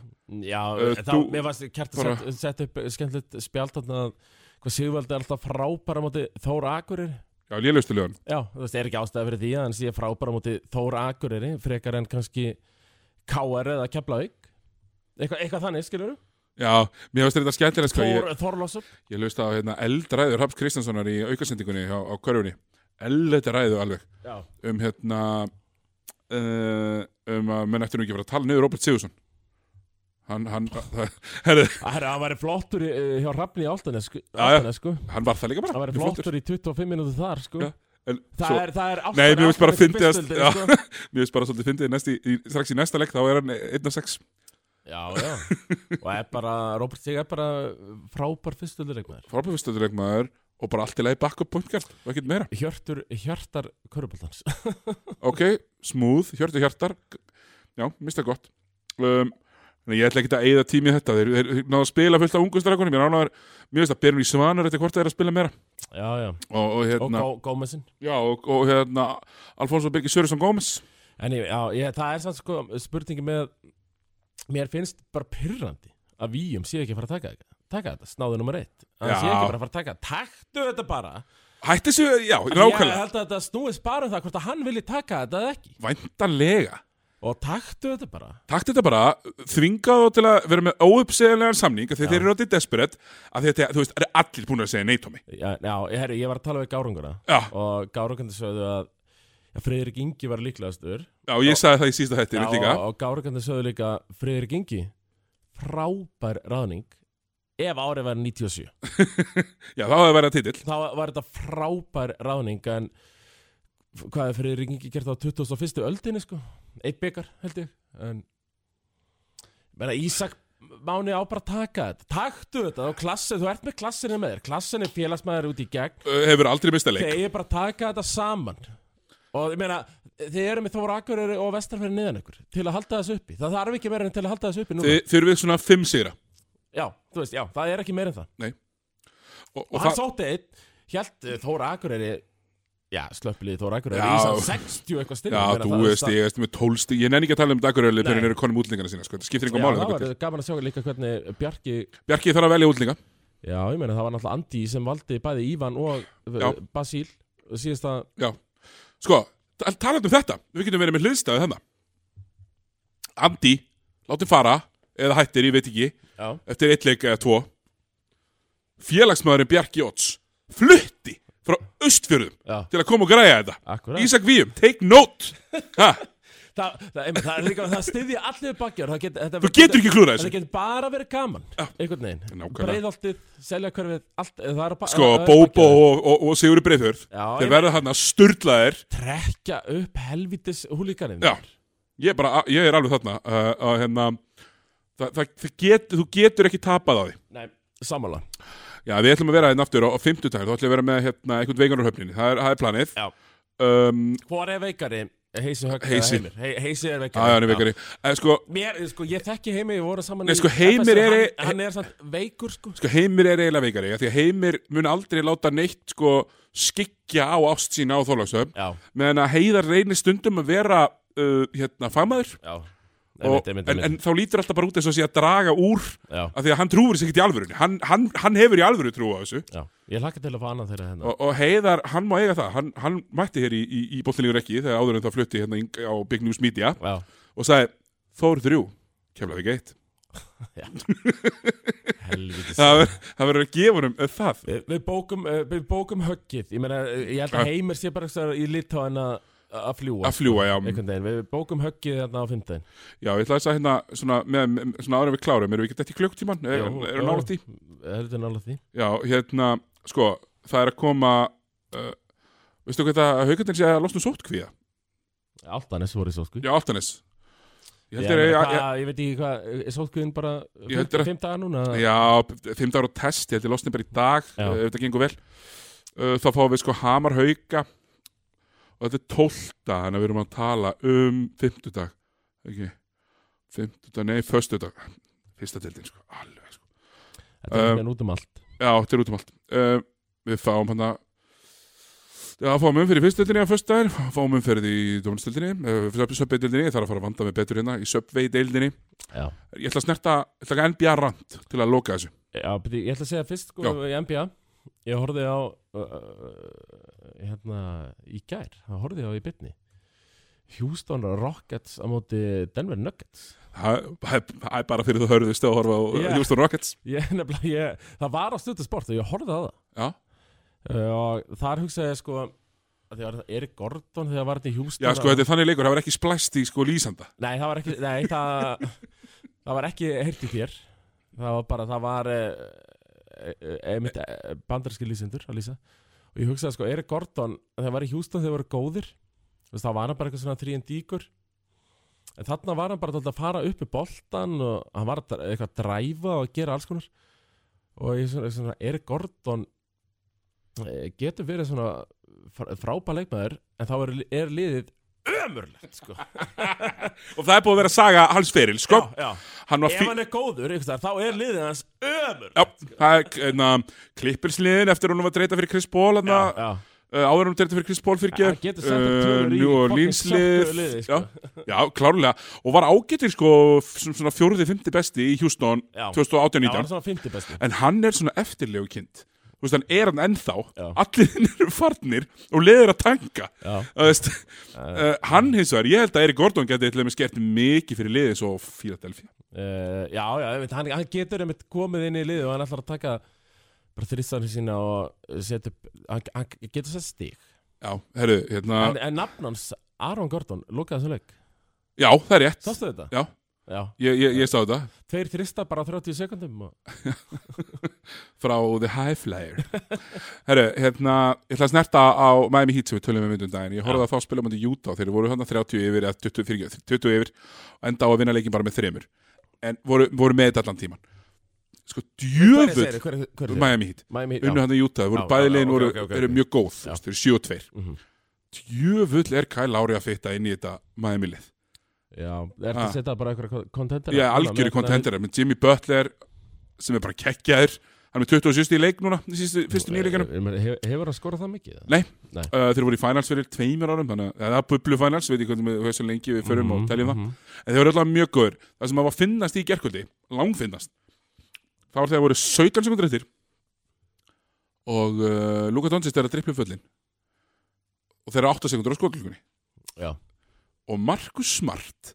S2: Já,
S1: Eh,
S2: þá,
S1: þú-
S2: mér varst kert að
S1: bara-
S2: setja set upp skemmtilegt spjald þarna að Hvað Sigvaldi er alltaf frábæra móti Þóra Akurir
S1: Já, lélegustu lögun
S2: Já, þú veist, er ekki ástæða fyrir því að hann sé frábæra móti Þóra Akureyri frekar en kannski KR eða Keflavík Eitthvað, eitthvað þannig, skilur
S1: Já, mér finnst þetta skemmtilega sko Ég,
S2: Þór, Þorlásson
S1: ég löst á hérna, eldræður Raps Kristjánssonar í aukasendingunni á, á körfunni Eldræðu alveg
S2: Já,
S1: Um hérna uh, Um að menn eftir nú ekki að fara að tala niður Robert Sigursson Hann, hann, herðu,
S2: það er að væri flottur í, eh, hjá Rafni í Áltanes sko,
S1: Já, já.
S2: Álftanes, sko.
S1: hann var það líka bara
S2: Það væri flottur í 25 minútur þar, sko
S1: Já, en
S2: Það
S1: svo-
S2: er, það er
S1: Nei, mér finnst bara að fyndi að
S2: fyndið
S1: já,
S2: sko.
S1: Mér finnst bara svolítið fyndið næst í- í- strax í næsta leik þá er hann 1 af 6
S2: Já, já Og er bara, Robert Stig er bara frábær fyrstöldurleikmaður
S1: frábæfustöðuleikmaður og bara allt í lagi backup point guard og ekkert meira
S2: Hjörtur, hjartar Köruboltans
S1: Ok, smooth, hjörtu hjartar Já, mista gott um, en Ég ætla ekki að eyða tími í þetta Þeir, þeir náðu að spila fullt af ungustarakunum Ég náðu að mér finnst að byrjum í svanur eftir hvort það er að spila meira
S2: Já, já,
S1: og, og
S2: og
S1: hérna,
S2: Gó- Gómezinn
S1: já, og, og hérna Alfonso Birgir Sörjusson Gómez
S2: En ég, já, ég, það er samt sko spurningi með Mér finnst bara pyrrandi að Víum sé ekki að fara að taka þetta taka þetta, snáðu nummer eitt hann
S1: Já.
S2: sé ekki bara að fara að taka, þetta. taktu þetta bara
S1: Hætti þessu, já,
S2: ég
S1: nákvæmlega
S2: held að þetta snúist bara um það hvort að hann vilji taka þetta eða ekki
S1: Væntanlega
S2: og taktu þetta bara
S1: Takt þetta bara, þvingað þá til að vera með óuppseðanlegan samning af því að þeir eru áttið desperate af því að þeir- þú veist, það eru allir búin að segja nei, Tómi
S2: já, já ég, herri, ég var að tala við Gárunguna
S1: Já,
S2: og Gárungandi sögðu að já, Friðrik Ingi var líklegastur
S1: já, ég sagði það í sísta hætti,
S2: Já,
S1: veit líka
S2: og, og Gárungandi sögðu líka Friðrik Ingi frábær ráðning ef árið var 97
S1: Já, þá hefði verið að titill
S2: þá var þetta frábær ráðning en f- hvað er fyrir ringingi gert á 21. öldinni sko eitt byggar held ég en menna Ísak Máni á bara að taka þetta, taktu þetta og klassin, þú ert með klassinni með þér klassinni félagsmaður út í gegn
S1: Ö, Uh, Hefur aldrei mistað leik
S2: þeir eru bara að taka þetta saman og ég meina, þeir eru með Þóra Akureyri og Vestarfæri neðan ykkur til að halda þessu uppi það þarf ekki meira en til að halda þessu uppi núna
S1: Þið þurfið svona fimm sigra
S2: já, þú veist, já, það er ekki meira en það
S1: Og,
S2: og,
S1: og
S2: hann
S1: það,
S2: sótti einn hjælt Þóra Akureyri já, slöppilið Þóra Akureyri
S1: Já.
S2: í sann 60 eitthvað styrning
S1: já, þú veist, ég veist með tólst Ég nenni ekki að tala um daguröðlið
S2: Nei.
S1: þegar þeir eru konum útlingana sína, sko, það skiptir einhver
S2: Já, það
S1: máli
S2: var gaman að sjá líka hvernig Bjarki
S1: Bjarki þarf að velja útlinga
S2: Já, ég meina það var náttúrulega Andi sem valdi bæði Ívan og
S1: Já.
S2: já. Basíl síðast að
S1: Sko, ta- talandi um þetta, við getum verið með hliðstæðu þennan Andi, látið fara eða hættir, ég veit ekki
S2: Já,
S1: eftir eitt leik eða tvo félagsmaðurinn Bjarki Óts flutti frá Östfjörðum
S2: já,
S1: til að koma og græja þetta
S2: akkurat
S1: Ísak Víum, take note ha,
S2: Þa, það, einmitt, það er líka, það styðja allir bakjar Það get, þetta-
S1: þú getur ekki klúrað
S2: Það
S1: þessu
S2: getur bara verið gaman, einhvern veginn
S1: Nákvæmlega.
S2: Breiðoltið, selja hverfið, allt eh, það er bara-
S1: sko,
S2: það er
S1: Bóbo
S2: bakjarið.
S1: og, og, og Sigur Breiðfjörð
S2: Já,
S1: þeir
S2: ég-
S1: verða hann að sturla þér
S2: Trekkja upp helvitis húlíkaninn
S1: Já. ég, er bara, ég er alveg þarna uh, að hérna Það, það, það get, þú getur ekki tapað á því
S2: Nei, sammála
S1: Já, við ætlum að vera hérna aftur á, á fimmtudaginn Þá ætlum við að vera með hérna, einhvern veiganarhöfninni Það er, það er planið
S2: Já.
S1: um,
S2: Hvor er veikari? Heisi högg
S1: Heisi.
S2: Heimir He, Heisi er veikari
S1: að, hann er veikari Eh, sko,
S2: Mér, sko, ég þekki Heimi, við vorum saman
S1: Nei,
S2: í
S1: sko, Heimir
S2: FSU,
S1: er-
S2: Hann, hann er samt veikur, sko
S1: sko heimir er eiginlega veikari af því að heimir mun aldrei láta neitt sko skikja á ást sína á þólagsöfn
S2: Já,
S1: meðan að heiðar reynir stundum að vera uh, hérna fagmaður
S2: já
S1: og,
S2: einmitt, einmitt,
S1: en,
S2: einmitt.
S1: en þá lítur alltaf bara út eins og sé að draga úr
S2: Já,
S1: af því að hann trúir sér ekkert í alvörunni hann, hann, hann hefur í alvöru trú á þessu
S2: já, ég hlakka til að fá annað þeirra hérna
S1: og, og Heiðar, hann má eiga það hann, hann mætti hér í, í, í bóttinlífur ekki þegar áður en það flutti hérna ing- á Big News Media
S2: Já,
S1: og sagði Þór þrjú, kemlaði ekki eitt
S2: helvítið
S1: það verður- það verður að gefa honum það
S2: Við, við, bókum, eh, við bókum höggið Ég meina, eh, ég held að heimir sé bara einhvers staðar í Litáin að að fljúa
S1: að mm. fljúa, já,
S2: einhvern veginn, við bókum höggið þarna á fimmtudaginn
S1: já ég ætla að hérna svona, með, með, svona ára við klárum, erum við ekki þetta í klukktíman erum
S2: Jú,
S1: við
S2: jú,
S1: nálætt í
S2: Heldur nála því
S1: Já, hérna, sko, það er að koma uh, veistu hvað það að haugandinn sé að losna sótkvíða?
S2: Allt annars voru í sótku
S1: Já, Altanis Ég
S2: ég,
S1: heldur
S2: meina,
S1: að,
S2: hvað- ég veit ekki hvað, er sótkuðin bara
S1: Ég heldur að-
S2: fimm dagar núna
S1: já, já, fimm dagar á test, ég heldur losna bara í dag
S2: Já.
S1: uh, ef þetta gengur vel uh, þá fáum við sko hamar hauga og þetta er tólta þannig að við erum að tala um fimmtudag ekki, fimmtudag, nei, föstudag fyrsta deildin, sko, alveg sko.
S2: Þetta er
S1: um,
S2: um, út um allt
S1: Já, þetta er út um allt uh, Við fáum hann að Já, fáum umferð í fyrstdeildinni á föstudaginn fáum umferð í dómstildinni uh, söpveideildinni, ég þarf að fara að vanda mig betur hérna í söpveideildinni,
S2: Já,
S1: ég ætla að snerta ég ætla að taka NBA rant til að loka þessu
S2: já beti, ég ætla að segja fyrst sko,
S1: Já.
S2: í NBA Ég horfði á uh, hérna í gær Það horfði ég á í bytni Houston Rockets á móti Denver Nuggets
S1: Það það er- það er bara fyrir þú hörðust að horfa á
S2: Já.
S1: yeah. Houston Rockets
S2: ég, nefnilega, ég, Það var á stöðu sport og ég horfði á það
S1: Já,
S2: Uh, og þar hugsaði ég sko að því var þetta Erik Gordon þegar var þetta í Houston
S1: Já sko, þetta er þannig leikur, það var ekki splæst í sko lýsanda
S2: nei, það var ekki, nei, það, það var ekki heyrt í þér það var bara, það var eh, eh, einmitt eh, bandarski lýsendur að lýsa og ég hugsaði sko, Erik Gordon þegar var í Houston þegar voru góðir þú veist, það var hann bara eitthvað svona 3 díkur en þarna var hann bara dálítið að fara upp í boltan og hann var að dra- eitthvað að dræfa og gera alls konar og ég svona, svona Erik Gordon eh, getur verið svona fr- frábær leikmaður en þá er, er liðið ömurlegt sko.
S1: Og það er búið að vera saga hans feril, sko
S2: já, já.
S1: Hann var
S2: ef
S1: fí-
S2: hann er góður einhvers staðar, þá er liðið hans ömurlegt
S1: Já, það er hérna, klippilsliðin eftir hún var dreita fyrir Chris Paul hann að
S2: já.
S1: uh, áður um þetta fyrir Chris Paul
S2: Ja,
S1: fyrir eh,
S2: hann getur sett upp tölur í
S1: New
S2: fucking
S1: Orleans
S2: sjöttu
S1: lið
S2: liði,
S1: já,
S2: sko.
S1: já, klárlega og var ágættir sko sem svona fjóruði, fymti besti í Houston
S2: Já. Já, hann er
S1: 2018-19
S2: svona 50 besti
S1: en hann er svona eftirlegu kind Þú veist, hann er hann ennþá,
S2: Já.
S1: allir hinn eru farnir og leður að tanka
S2: Já.
S1: Þú veist, uh, hann hins vegar, ég held að Erik Gordon geti eitthvað með skert mikið fyrir liðið svo Philadelphia
S2: uh, já, já, einmitt, hann, hann getur einmitt komið inn í liðið og hann ætlar að taka bara þrissarinn sína og setja upp hann, hann getur sett stík
S1: Já, herru, hérna,
S2: en, en nafn hans, Aron Gordon, lúkaði þessum leik
S1: já, það er rétt
S2: sástu þetta?
S1: Já,
S2: já,
S1: ég, ég, ég sá þetta
S2: tveir þrista bara á 30 sekundum og...
S1: frá The High Flyer Herru, hérna, ég ætla að snerta á Miami Heat sem við tölum um myndum daginn ég horfði að þá spila mæti Utah, þeir voru hann 30 yfir eða 20, 40, 20 yfir og enda á að vinna leikin bara með þremur en voru, voru með þetta allan tíman sko
S2: hver er
S1: djöfull
S2: þeir? Hver er- hver er þeir?
S1: Miami Heat,
S2: Miami, já.
S1: unnu hann í Utah þeir voru
S2: Já, já,
S1: bæði legin,
S2: ok,
S1: voru,
S2: ok, ok,
S1: eru
S2: ok.
S1: mjög góð
S2: Já.
S1: þú veist, þeir eru 7 og 2
S2: Mhm.
S1: djöfull er Kyle Lowry að fitta inn í þetta Miami lið,
S2: Já, er þetta
S1: Ah.
S2: að setja bara einhverja kontentera?
S1: ég er algjöru kontenderar með Jimmy Butler sem er bara kekkjaður hann er með 27 í leik núna í sístu, fyrstu
S2: eh,
S1: nýleikunum
S2: Hefur hann skorað það mikið?
S1: Nei,
S2: Nei.
S1: Uh, þeir voru í finals fyrir tveimur árum þannig að það er bublu finals, veit ég hvernig við hversu lengi við förum og teljum það,
S2: -hmm.
S1: en þeir voru alltaf mjög góður það sem að var finnast í gerkvöldi, langfinnast það var þegar voru 17 sekundur eftir og uh, Luka Doncic er að drippu föllin og þeir eru 8 sekundur á skotlugunni
S2: Já,
S1: og Markus Smart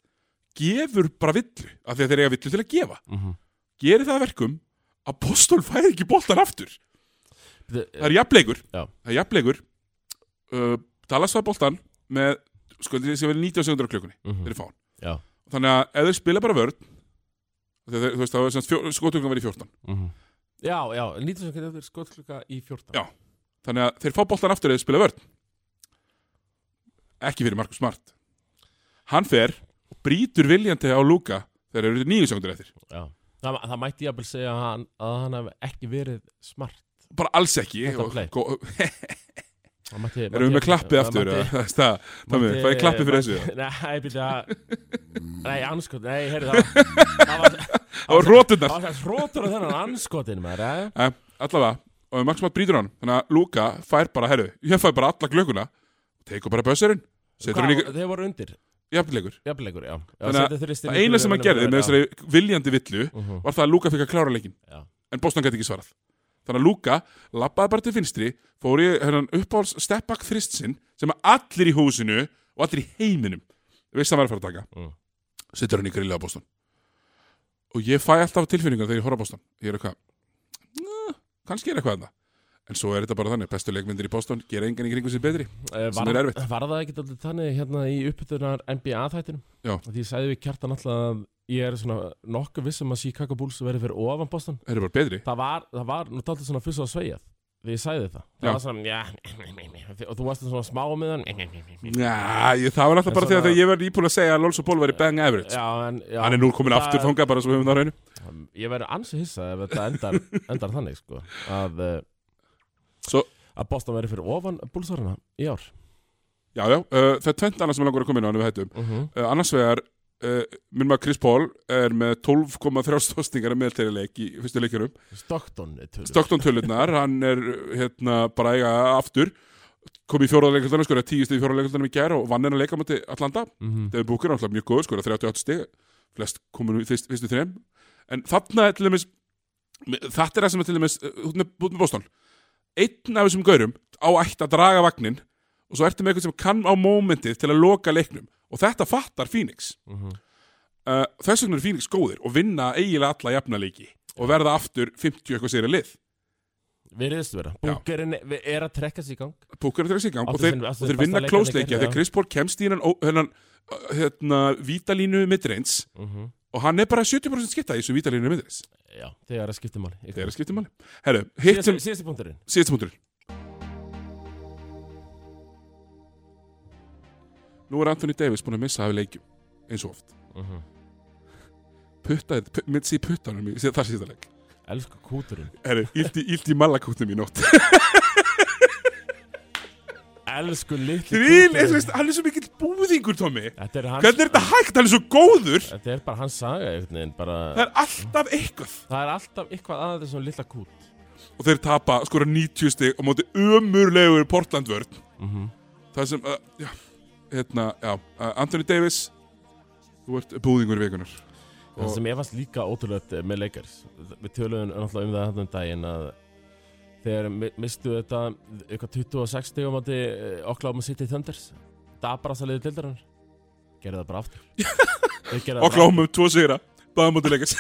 S1: gefur bara villu, af því að þeir eiga villu til að gefa
S2: mm -hmm.
S1: gerir það að verkum að Boston fæði ekki boltan aftur það er jafnleikur
S2: Já.
S1: það er jafnleikur uh, Dallas fær boltan með sko, það sé vel 90 sekundur á klukkunni
S2: Mhm.
S1: þeir eru fán
S2: Mm. Já.
S1: þannig að ef þeir spila bara vörn þeir, þú veist, það var sem sagt fjó- skotklukkan verið 14
S2: já, já, 19 sekundar eftir skotkluka í 14
S1: Já. þannig að þeir fá boltan aftur ef þeir spila vörn ekki fyrir Markus Smart hann fer og brýtur viljandi á Luka þegar þeir eru 9 sekundur eftir
S2: Já. Það, það mætti ég að segja að hann, að hann hef ekki verið smart
S1: bara alls ekki
S2: Þetta play.
S1: og,
S2: Það mætti, mætti
S1: erum við með
S2: jafnvel-
S1: klappið
S2: það
S1: aftur eða?
S2: mætti-
S1: það, það, það,
S2: mætti-
S1: það er klappið fyrir þessu eða?
S2: Nei, byrja Nei, anskot, nei, heyrðu það Það var
S1: það var rótundar
S2: Það var hrótur á þennan anskotin maður, eh?
S1: Nei, allavega, og Max Matt brýtur hann þannig að Luka fær bara, herru, ég fær bara alla glögguna tekur bara bössurinn setur hann í,
S2: Hvað, þeir voru undir
S1: jafnilegur
S2: jafnleikur, já, já
S1: Þannig að Það eina sem hann gerði með þessari viljandi villu
S2: þessu
S1: var það að Luka fekk að klára leikin
S2: Já.
S1: en Boston gæti ekki svarað þannig að Luka lappaði bara til finstri fór í hennan uppáhalds step back þrist sinn sem að allir í húsinu og allir í heiminum veist að vera að fara að taka
S2: Mm.
S1: setur hann í grilla á Boston og ég fæ alltaf tilfinningar þegar ég horf á Boston ég er eitthvað "Nah, kannski er eitthvað en en svo er þetta bara þannig bestu leikmyndir í Boston gera engan í kringum sér betri sem er erfitt.
S2: Eh, Var það ekki alltaf þannig hérna í uppbytunar NBA-þættinum?
S1: Já.
S2: Því ég sagði við kjartan alltaf að ég er svona nokkuð vissum að Chicago Bulls verði fyrir ofan Boston.
S1: þeir eru bara betri
S2: Það var, það var nú alltaf svona fyrst og sveigað. Því ég sagði það. Það
S1: Já.
S2: var svona, já, og þú varst svona smá með hann.
S1: Já, ég, það var alltaf
S2: En
S1: bara þegar
S2: svona-
S1: þegar ég var íbúin að segja að Lonzo Ball var í bang average
S2: Já, en, já.
S1: hann er nú komin
S2: Það-
S1: aftur þangað bara svo við höfum það á hreinu
S2: Ég verður ansi hissað ef þetta endar, endar þannig, sko. Að, eh,
S1: Svo-
S2: að Boston verði fyrir ofan Bullsarana í ár.
S1: Já, já, uh, það er tvent annars sem er langur að koma inn á en við hættum
S2: Uh
S1: uh, annars vegar uh, minn maður Chris Paul er með 12,3 stóðstingar að meðtæri leik í fyrstu leikjurum
S2: Stockton er tölur.
S1: Stockton tölurnar, hann er hérna bara að eiga aftur kom í fjóraða leikultanum, skoraði 10 stig í fjóraða leikultanum í gær og vann hennar leika múti Atlanta
S2: Mhm.
S1: Devin Booker er alltaf mjög sko, góð, skoraði 38 stig flest komin úr fyrst, fyrstu þrejum en þarna er til dæmis þetta er það sem er til dæmis uh, út með, út með Boston einn af þessum gaurum á ætt að draga vagnin og svo ertu með eitthvað sem kann á mómentið til að loka leiknum og þetta fattar Phoenix
S2: Mhm.
S1: uh, þess vegna eru Phoenix góðir og vinna eiginlega alla jafnaleiki og verða aftur 50 eitthvað sér að lið
S2: Virðist vera Búkerinn er er að trekka sig í gang
S1: Púkar er þessi í gang og
S2: Áttu
S1: þeir,
S2: sinn-
S1: og
S2: áttu
S1: þeir
S2: besta
S1: vinna
S2: leik
S1: klósleikja
S2: hérna í gær,
S1: þegar
S2: já.
S1: Chris Paul kemst í hennan ó- hennan, uh, hérna, vítalínu midreins
S2: Mhm.
S1: og hann er bara 70% skipta í þessu vítalínu midreins
S2: Já, þegar að skipta máli
S1: þegar það skiptir manni Herru, hitt sem
S2: Síðasti punkturinn
S1: síðast punkturinn Nú er Anthony Davis búin að missa af leikjum eins og oft
S2: Mhm.
S1: puttaði, pu- mitt sé í puttanum í- þar síðasta leik
S2: Elsku kúturinn
S1: Herru, ílt í, illt í mallakútnum í nótt
S2: Elsku litli
S1: Þvíl,
S2: kúturinn.
S1: veist, hann er svo mikill búðingur, Tommy
S2: Þetta er hans
S1: Hvernig er þetta hægt? Hann er svo góður
S2: Þetta er bara hans saga einhvern veginn bara
S1: Það er alltaf eitthvað
S2: Það er alltaf eitthvað aðeins svona litla kút
S1: Og þeir tapa skora 90 stig á móti ömurlegur Portland vörn
S2: Mhm.
S1: Það sem, uh, já, hérna, já uh, Anthony Davis Þú ert búðingur vikunar
S2: Það sem ég fannst líka ótrúlegt eh, með leikars Við töluðum náttúrulega um það hann um daginn að Þegar mi- mistu þetta eitthvað 26 stegum átti eh, Oklahoma City Thunders Dabrasta liðið dildarinnar Gerði það bara aftur Þeir gerðu það bara
S1: Og kláum um tvo sigra Báðum móti leikast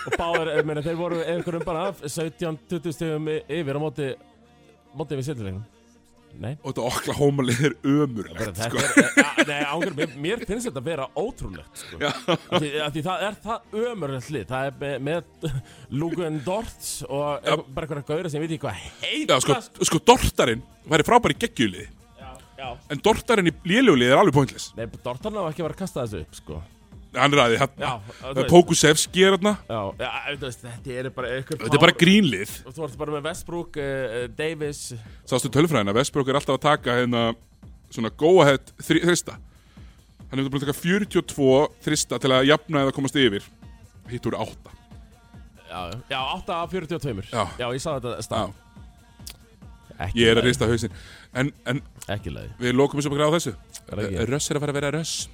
S2: og báðir, ég meina, þeir voru einhverjum bara 17-20 stegum yfir á móti móti við sértilegnum Nei,
S1: Og þetta Oklahoma lið er
S2: bara
S1: ömurlegt sko.
S2: þetta er ja, Nei, ángur, mér, mér finnst þetta vera ótrúlegt sko.
S1: Já.
S2: Af því, af því það er það ömurlegt lið Það er með, með Lugan Dorts og ja. bara einhverja gauðra sem ég veit ekki hvað
S1: Já, sko, sko Dortarinn væri frábæri geggjulið En Dortarinn í lélugulið er alveg pointless
S2: sko. Nei, Dortan á ekki að vera að kasta þessu upp sko.
S1: Hann ræði
S2: Já,
S1: hérna
S2: þú veist.
S1: Pókusefski er hérna
S2: Já, ja, þú veist, þetta er bara einhver
S1: Þetta er bara grínlið
S2: Og þú ert bara með Westbrook, uh, Davis
S1: Sástu tölfræðina, Westbrook er alltaf að taka hérna svona go-ahead þri- þrista Hann hefur búin að taka 42 þrista til að jafna eða komast yfir Hitt úr 8
S2: Já, já 8 af 42
S1: Já.
S2: ég sá þetta
S1: Já,
S2: stað Ekki
S1: ég er að
S2: lagi.
S1: rista hausinn En, en
S2: Ekki leiði
S1: við lokum þessu bara á þessu
S2: Er það ekki?
S1: Röss er að fara að vera röss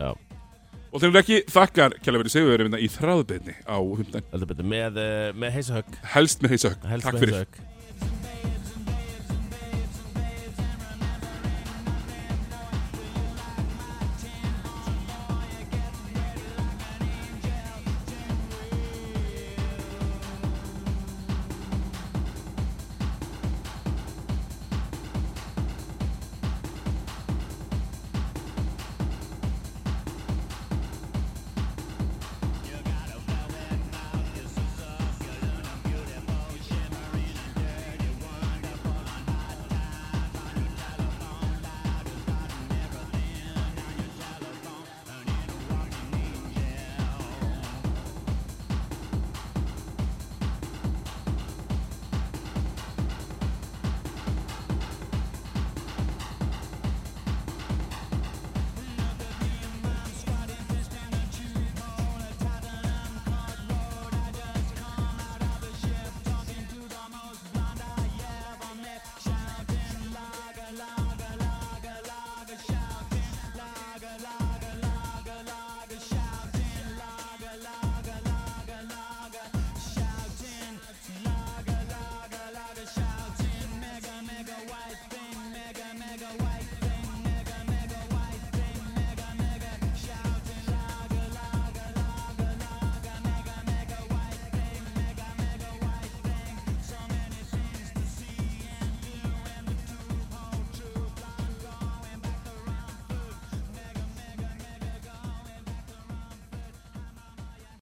S2: Já,
S1: Og þegar ekki þakkar Kjellaferi Sigurður í þráðbyrni á hundan
S2: heldur betur Með, eh, með heisahögg
S1: Helst með heisa högg
S2: Helst
S1: Takk
S2: með
S1: fyrir
S2: heisahögg